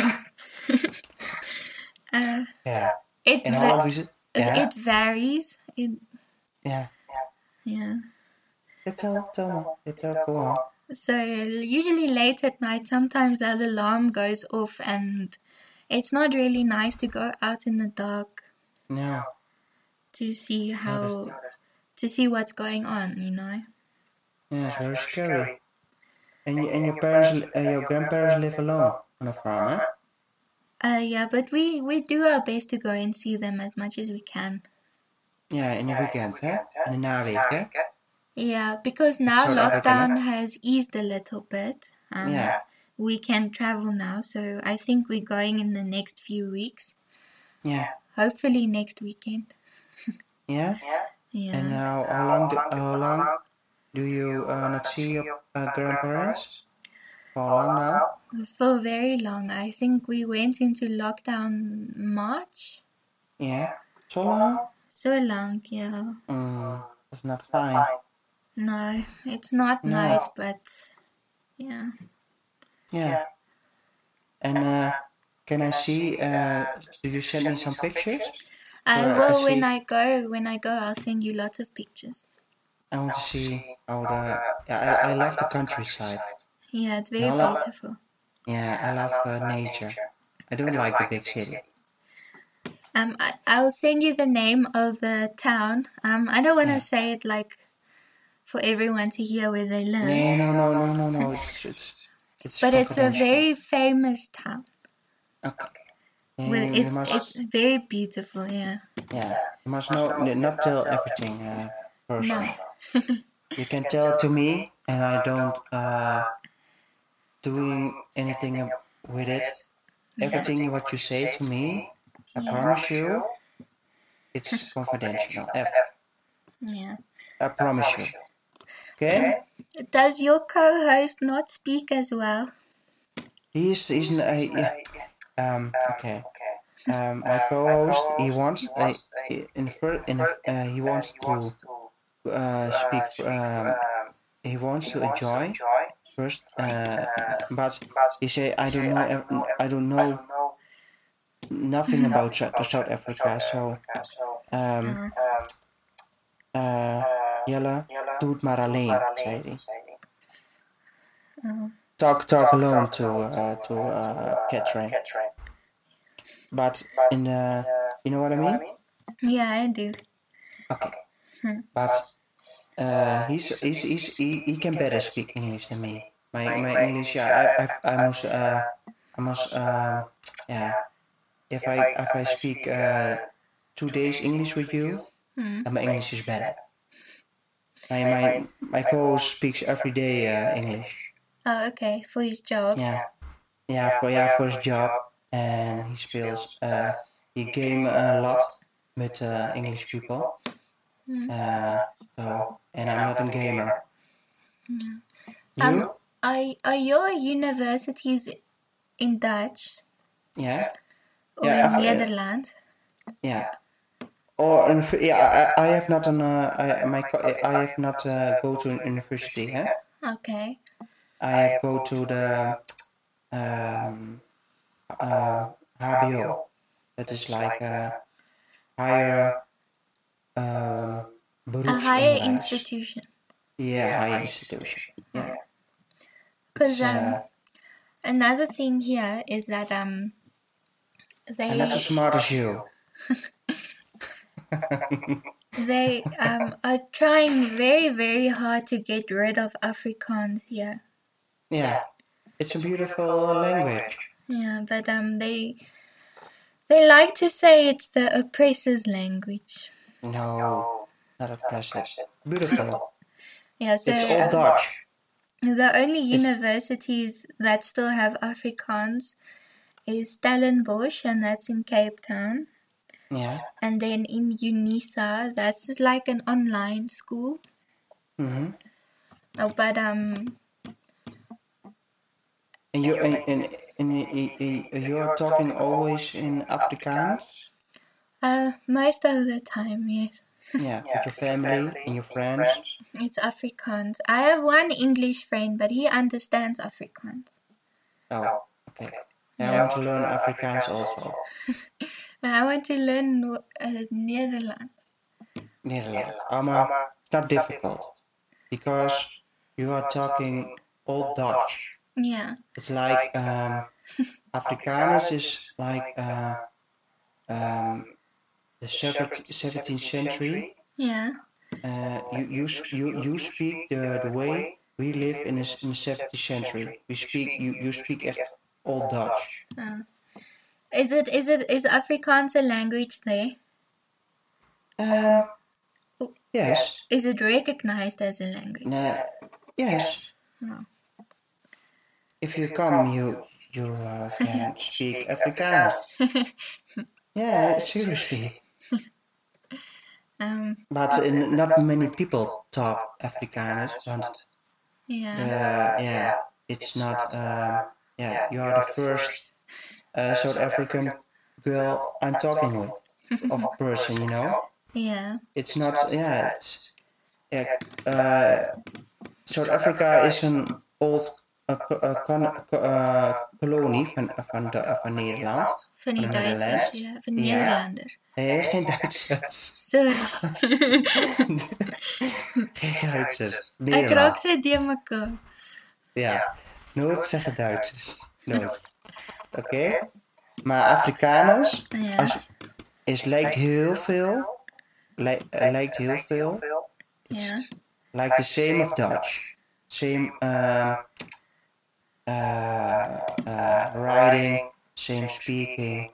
S3: uh,
S2: Yeah.
S3: it,
S2: In
S3: va-
S2: Holland we z-
S3: it-
S2: Yeah.
S3: it varies it,
S2: Yeah.
S3: yeah
S2: Yeah, tell, tell me. Yeah, tell, go on.
S3: So usually late at night, sometimes that alarm goes off, and it's not really nice to go out in the dark
S2: No.
S3: to see how to see what's going on. You know.
S2: Yeah, it's very scary. And, you, and your parents, li- uh, your grandparents live alone on a farm, huh?
S3: Uh, yeah, but we we do our best to go and see them as much as we can.
S2: Yeah, in the weekends, hè? In de naweken.
S3: Yeah, because now
S2: South Africa,
S3: lockdown has eased a little bit. Um,
S2: uh Yeah.
S3: We can travel now, so I think we're going in the next few weeks.
S2: Yeah.
S3: Hopefully next weekend.
S2: Yeah.
S3: Yeah.
S2: And now, how long, do, how long do you uh, not see your uh, grandparents? For how long now?
S3: For very long. I think we went into lockdown March.
S2: Yeah. So long?
S3: So long, yeah.
S2: Mm, that's not fine.
S3: No, it's not
S2: No.
S3: nice, but yeah.
S2: Yeah. And uh, can I see, uh, do you send me some pictures?
S3: I
S2: Well,
S3: will
S2: I
S3: when
S2: see.
S3: I go. When I go, I'll send you lots of pictures.
S2: I want to see how the, yeah, I, I love the countryside.
S3: Yeah, it's very
S2: No, no.
S3: beautiful.
S2: Yeah, I love uh, nature. I don't like the big city.
S3: Um, I, I'll send you the name of the town. Um, I don't want to
S2: Yeah.
S3: say it like for everyone to hear where they live,
S2: No, no, no, no, no, no. Oh, It's it's it's
S3: but it's a
S2: confidential.
S3: very famous town.
S2: okay.
S3: With
S2: And you
S3: it's
S2: must
S3: it's very beautiful. Yeah.
S2: yeah. You must know n- not tell everything uh, personal. You can tell to me, and I don't uh doing anything ab- with it. Everything what you say to me, I
S3: Yeah.
S2: promise you, it's confidential. Ev-
S3: Yeah.
S2: I promise you. Okay.
S3: Does your co-host not speak as well?
S2: He's he's n- uh, yeah. Um. Okay. Um, my co-host, he wants, uh, in the fir- in the- uh, he wants to uh, speak. Um, he wants to enjoy first, uh, but he say, I don't know, ev- I don't know nothing about South, South Africa. So, um, uh, Jelle, doe het maar alleen, zei hij.
S3: Oh.
S2: Talk, talk alone to uh, to uh, Catherine. But in the, you know what I mean?
S3: Yeah, I do.
S2: Okay. But uh, he's, he's, he's, he, he can better speak English than me. My, my English, yeah, I, I, I must, uh, I must, um, yeah. If I, if I speak uh, two days English with you,
S3: Hmm.
S2: then my English is better. My, my, my co-host speaks every day uh, English.
S3: Oh, okay. For his job.
S2: Yeah, yeah, for yeah for his job, and he speaks. Uh, he game a lot with uh, English people.
S3: Hmm.
S2: Uh, so, and I'm not a gamer.
S3: Um,
S2: You?
S3: are, are your universities in Dutch
S2: Yeah.
S3: or
S2: Yeah,
S3: in
S2: I've-
S3: Netherlands?
S2: Yeah. Or an, yeah, I, I have not an uh, I my co- I have not uh, go to an university. Huh?
S3: Okay.
S2: I have go to the um, uh, HBO. That is like uh, higher um,
S3: a
S2: beroepsonderwijs.
S3: higher institution.
S2: Yeah, higher institution. Yeah.
S3: Because
S2: uh,
S3: um, another thing here is that um,
S2: I'm
S3: they
S2: not as smart as you.
S3: they um, are trying very very hard to get rid of Afrikaans here.
S2: Yeah. It's a beautiful language.
S3: Yeah, but um, they they like to say it's the oppressor's language.
S2: No, not oppressive. Beautiful.
S3: Yeah, so
S2: It's all
S3: um,
S2: Dutch.
S3: the only
S2: It's-
S3: universities that still have Afrikaans is Stellenbosch, and that's in Cape Town.
S2: Yeah.
S3: And then in UNISA, that's just like an online school.
S2: Mm-hmm.
S3: Oh, but um,
S2: And you and, and, and, y- y- y- you're talking always in Afrikaans.
S3: uh, most of the time, yes,
S2: Yeah, with your family and your friends.
S3: it's Afrikaans. I have one English friend, but he understands Afrikaans.
S2: Oh, okay. Yeah, I want to learn Afrikaans also.
S3: But I want to learn Nor- uh, Netherlands.
S2: Nederlands. Oh, maar it's not difficult because you are talking all Dutch.
S3: Yeah,
S2: It's like um, Afrikaans is like uh, um, the 17th, 17th century.
S3: yeah,
S2: Uh, you, you, s- you, you speak the, the way we live in the, s- in the 17th century. We speak, you, you speak echt all Dutch.
S3: uh. Is it is it is Afrikaans a language there?
S2: Uh, yes.
S3: Is it recognized as a language?
S2: Uh, yes.
S3: No.
S2: If you come, you, you uh, can speak Afrikaans. Yeah, seriously.
S3: Um,
S2: But uh, n- not many people talk Afrikaans, want
S3: yeah,
S2: Uh, yeah, it's not. Um, yeah, you are the first uh, South African girl I'm talking with, of a person, you know.
S3: yeah,
S2: It's not. Yeah, it's. Yeah, uh, South Africa is an old uh, co- uh, con- co- uh, colony van, van, de, van Nederland.
S3: van die
S2: Netherlands?
S3: Duitsers, ja, van
S2: Ja.
S3: Nederlanders.
S2: Nee, geen Duitsers.
S3: Sorry,
S2: Geen Duitsers.
S3: ik raak
S2: Nederland.
S3: ze door mekaar.
S2: Ja. Nooit zeggen Duitsers. Nooit. Oké? Maar Afrikaners.
S3: Ja,
S2: Als, is lijkt heel veel. Lijkt, eh, lijkt heel veel.
S3: ja,
S2: Lijkt the same of Dutch. Same eh, eh, eh, writing, same speaking.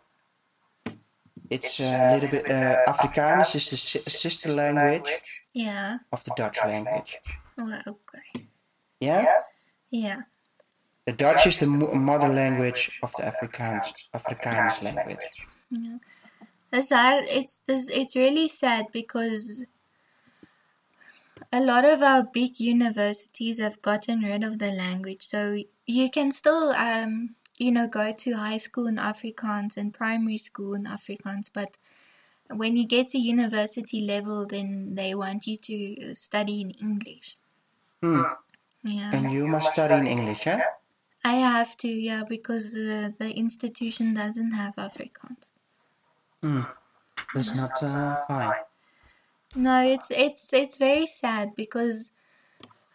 S2: It's a little bit. eh, Afrikaans is the si- sister language
S3: ja.
S2: of the Dutch language.
S3: Oh, okay.
S2: Yeah?
S3: Yeah.
S2: The Dutch is the mo- mother language of the Afrikaans, Afrikaans language.
S3: That's sad. It's this. It's really sad because a lot of our big universities have gotten rid of the language. So you can still, um, you know, go to high school in Afrikaans and primary school in Afrikaans, but when you get to university level, then they want you to study in English.
S2: Hmm.
S3: Yeah,
S2: And you must study in English, eh? hè?
S3: I have to. Yeah, because the, the institution doesn't have Afrikaans.
S2: Hmm. That's not uh, fine.
S3: No, it's it's it's very sad because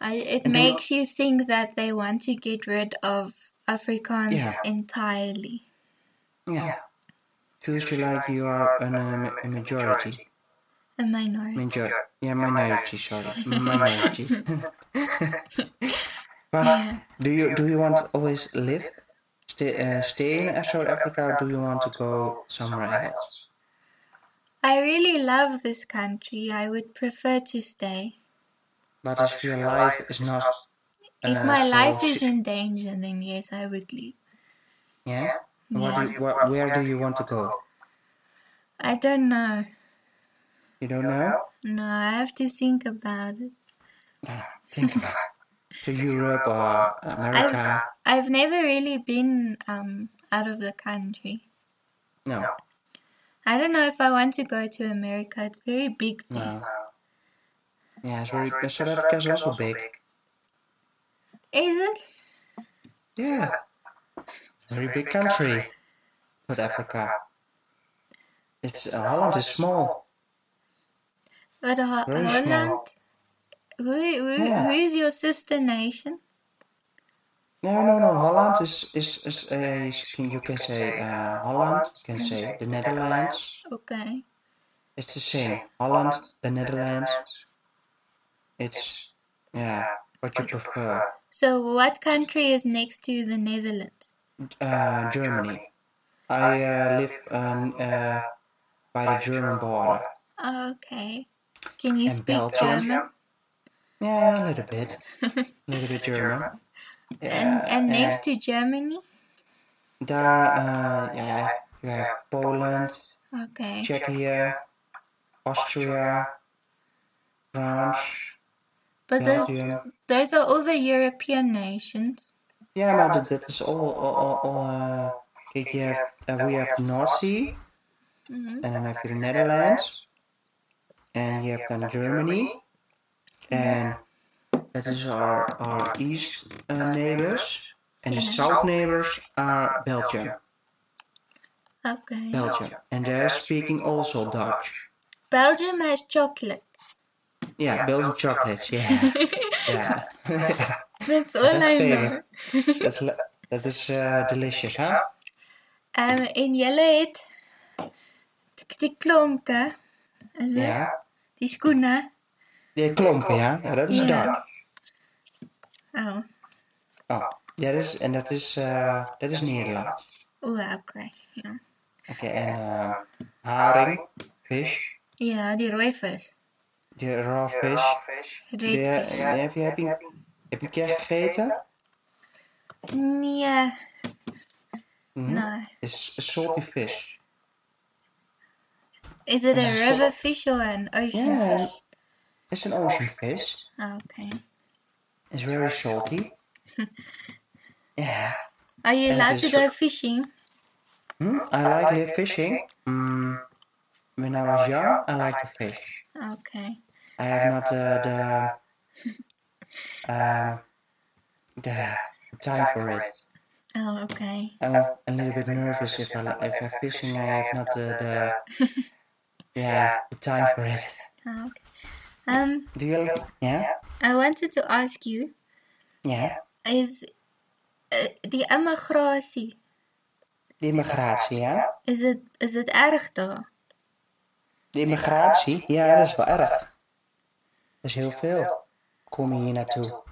S3: I, it
S2: And do you-
S3: makes you think that they want to get rid of Afrikaans
S2: Yeah.
S3: entirely.
S2: Yeah. Feels you like you are an, um, a majority.
S3: A minority.
S2: Major- yeah, minority, sorry. Mm, Minority. but
S3: Yeah.
S2: do you do you want to always live, stay, uh, stay in South Africa, or do you want to go somewhere else?
S3: I really love this country. I would prefer to stay.
S2: But if your life is not.
S3: If
S2: uh,
S3: my
S2: so
S3: life is
S2: se-
S3: in danger, then yes, I would leave.
S2: Yeah? What do you, what, where do you want to go?
S3: I don't know.
S2: You don't know?
S3: No, I have to think about it.
S2: Think about it. To Europe or America?
S3: I've I've never really been um out of the country.
S2: No,
S3: I don't know if I want to go to America. It's very big there.
S2: no. Yeah, it's very, South Africa is also big.
S3: Is it?
S2: Yeah. Very big country, uh, South Africa. It's uh, Holland is small.
S3: But Ho-
S2: Very
S3: Holland,
S2: small.
S3: who, who,
S2: Yeah.
S3: who is your sister nation?
S2: No, no, no. Holland is is is a can you can say uh, Holland can say the Netherlands.
S3: Okay.
S2: It's the same. Holland, the Netherlands. It's yeah. What you prefer?
S3: So, what country is next to the Netherlands?
S2: Uh, Germany. I uh, live um, uh, by the German border.
S3: Okay. Can you
S2: And
S3: speak
S2: Belgium.
S3: German?
S2: Yeah, a little bit, a little bit German.
S3: and and
S2: yeah. uh,
S3: next to Germany?
S2: There, uh, yeah, you have Poland,
S3: Okay.
S2: Czechia, Austria, France,
S3: But those,
S2: Belgium.
S3: those are all the European nations.
S2: Yeah, maar dat, dat is all, all, all, all uh, kijk, je hebt, uh, we have the North Sea,
S3: hmm
S2: and then have the Netherlands, and you have then Germany, and that is our, our east uh, neighbors, and the
S3: Yeah.
S2: south neighbors are Belgium,
S3: Okay.
S2: Belgium, and they're speaking also Dutch.
S3: Belgium has chocolate.
S2: Yeah, Belgian chocolates. Yeah, yeah.
S3: That's all
S2: That's
S3: I
S2: fair.
S3: know.
S2: That's le- that is uh, delicious, huh?
S3: Um, en julle het t- die klompe, is dit?
S2: Ja.
S3: Die skoene.
S2: Die klompen, ja. Ja, dat is
S3: Ja.
S2: Dutch.
S3: Oh,
S2: Oh, ja, dat is, en dat is, eh, dat is Nederland.
S3: o, okay. Ja.
S2: Oké, en eh, haring, vis,
S3: Ja, die rooi vis.
S2: de raw fish. Die,
S3: Red vis.
S2: die heb je, heb je, heb je kerst gegeten?
S3: Nee,
S2: Mhm.
S3: nee.
S2: Is salty fish.
S3: Is it a
S2: Is it-
S3: river fish or an ocean
S2: Ja,
S3: fish? Ah,
S2: is een ocean fish.
S3: Okay.
S2: It's very salty. Yeah.
S3: Are you
S2: And
S3: allowed
S2: it
S3: to
S2: is
S3: go fishing?
S2: Hmm? I like the fishing. Mm, when I was young, I like to fish.
S3: Ah, Okay.
S2: I have not uh, the um, the time for it.
S3: Oh, okay.
S2: I'm a little bit nervous if I if I'm fishing. I have not the, the yeah the time for it.
S3: Oh, okay. Um,
S2: Do you? Yeah,
S3: I wanted to ask you
S2: yeah.
S3: is uh, die immigrasie
S2: De immigratie, ja.
S3: is dit is dit erg daar?
S2: De immigratie, ja, dat is wel erg. Dat is heel veel. Kom hier naartoe.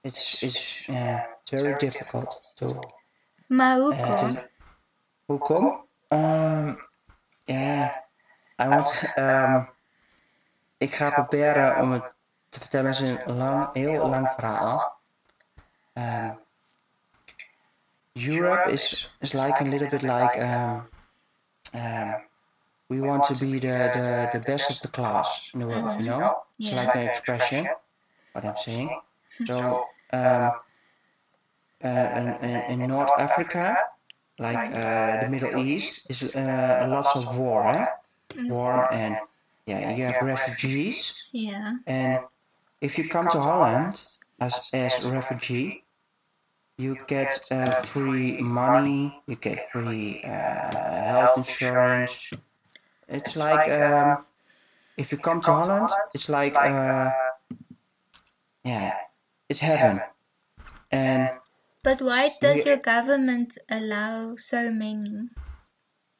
S2: It's it's yeah, it's very difficult to
S3: Maar
S2: Uh,
S3: hoekom?
S2: to- hoe kom? Ehm, ja, I want, ehm, ik ga proberen om het te vertellen. Het is een lang, heel lang verhaal. Ehm, Europe is, is like a little bit like ehm, ehm, we want to be the, the, the best of the class in the world, you know? It's
S3: Yeah.
S2: like an expression, what I'm saying. So, um, uh, in, in, in North Africa, like uh, the Middle East, is uh, lots of war, eh?
S3: Mm,
S2: War and yeah, you have refugees.
S3: Yeah.
S2: And if you come to Holland as as a refugee, you get uh, free money, you get free uh, health insurance. It's like um, if you come to Holland, it's like uh, yeah, it's heaven. And
S3: But why does
S2: Yeah.
S3: your government allow so many?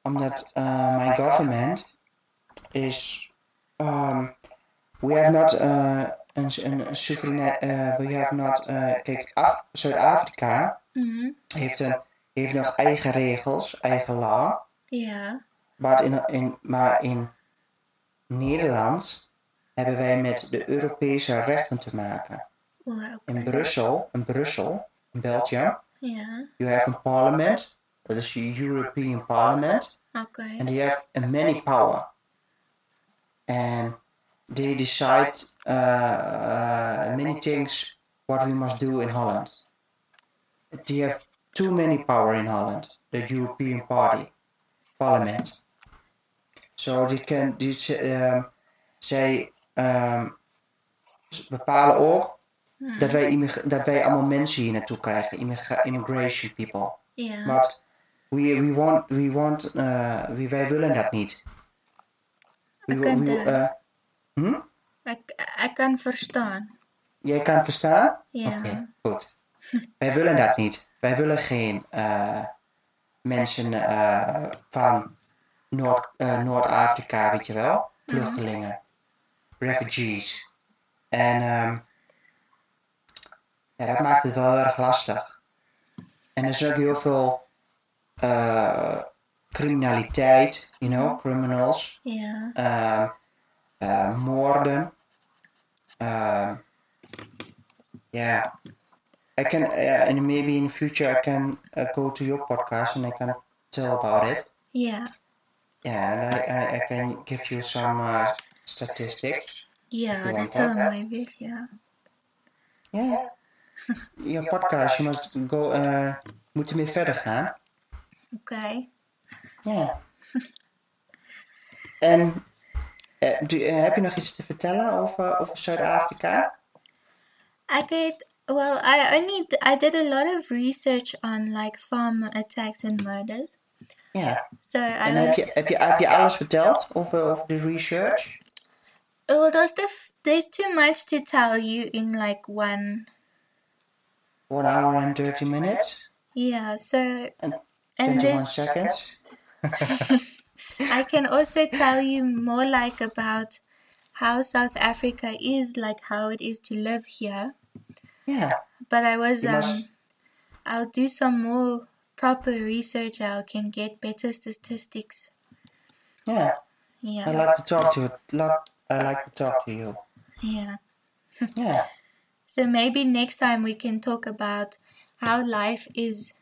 S2: omdat uh, my government is um, we have not uh, een, een soevereine uh, we have not uh, kijk Af- Zuid-Afrika
S3: Mhm.
S2: heeft een heeft nog eigen regels eigen law
S3: Ja.
S2: maar in, in, maar in Nederland hebben wij met de Europese rechten te maken
S3: O,
S2: in
S3: okay.
S2: Brussel in Brussel in Belgium
S3: Ja.
S2: you have een parlement dat is het European Parliament
S3: Okay.
S2: and they have a many power and they decide uh, uh, many things what we must do in holland they have too many power in holland the european party parliament so they can they, say, um, zij um, ze bepalen ook dat wij, immig- dat wij allemaal mensen hier naartoe krijgen immigra- immigration people
S3: Ja.
S2: maar we, we want, we want, eh, we, wij willen dat niet. We,
S3: Ik
S2: wil-
S3: ken
S2: we,
S3: dat.
S2: eh, Hm?
S3: Ik, ik kan verstaan.
S2: Jij kan verstaan?
S3: Ja.
S2: Oké, goed. Wij willen dat niet. Wij willen geen eh, mensen eh, van Noord, eh, Noord-Afrika, weet je wel? Vluchtelingen. Refugees. En ehm, ja, dat maakt het wel erg lastig. En er is ook heel veel eh, criminaliteit, you know, criminals
S3: Ja.
S2: ehm, eh, moorden. Ehm, yeah. I can, eh, and maybe in future I can eh, go to your podcast and I can tell about it.
S3: Ja.
S2: Yeah, and I, I, I can give you some uh, statistics.
S3: Ja,
S2: Ja,
S3: dat
S2: dat,
S3: zou
S2: hè?
S3: mooi zijn, ja.
S2: Yeah. Your podcast, you must go, eh, moet ermee verder gaan.
S3: Oké.
S2: Ja. en eh, do- eh, heb je nog iets te vertellen over, over Zuid-Afrika?
S3: I could well I only I did a lot of research on like farm attacks and murders.
S2: Ja.
S3: So I
S2: En
S3: was
S2: heb je, heb, je, heb je alles verteld over, over de research?
S3: well there's the f- there's too much to tell you in like one
S2: One hour and 30 minutes
S3: yeah so
S2: and 21
S3: and there's
S2: seconds.
S3: I can also tell you more like about how South Africa is like how it is to live here.
S2: Yeah,
S3: But I was
S2: You
S3: um
S2: must-
S3: I'll do some more proper research I can get better statistics.
S2: yeah.
S3: Yeah.
S2: I like to talk to lot. I like to talk to you.
S3: yeah.
S2: Yeah,
S3: So maybe next time we can talk about how life is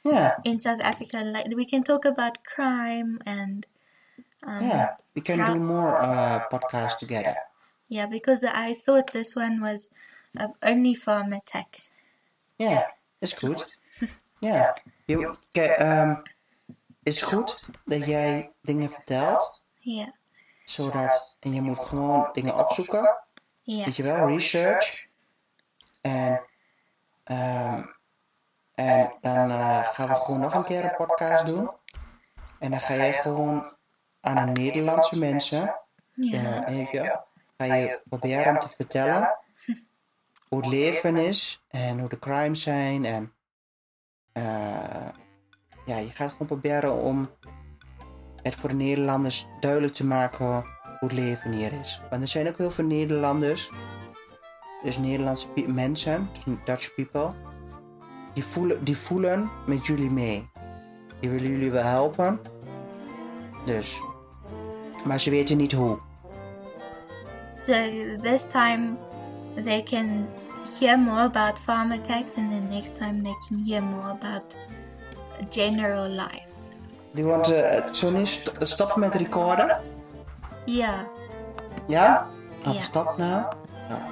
S2: yeah,
S3: in South Africa. Like we can talk about crime and um,
S2: yeah. We can do more uh, podcasts together.
S3: yeah, because I thought this one was uh, only farm attacks.
S2: Yeah, is goed. Yeah. Je, ke- ehm, is goed dat jij dingen vertelt,
S3: Yeah,
S2: zodat en je moet gewoon dingen opzoeken.
S3: yeah,
S2: Weet je wel, research. En, ehm, en dan eh, gaan we gewoon nog een keer een podcast doen. En dan ga jij gewoon aan de Nederlandse mensen,
S3: yeah,
S2: eh, weet je, ga je proberen om te vertellen hoe het leven is en hoe de crimes zijn. En eh, ja, je gaat gewoon proberen om het voor de Nederlanders duidelijk te maken hoe het leven hier is. Want er zijn ook heel veel Nederlanders, dus Nederlandse pe- mensen, dus Dutch people, die voelen, die voelen met jullie mee. Die willen jullie wel helpen. Dus. Maar ze weten niet hoe.
S3: So this time they can hear more about farm attacks, and then next time they can hear more about general life.
S2: Die want, eh, Sonny, st- stop met recorden.
S3: Yeah,
S2: Ja?
S3: Ja.
S2: Oh, stop nou. Ja.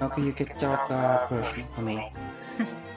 S2: Oké, you can talk eh, personally to uh, me.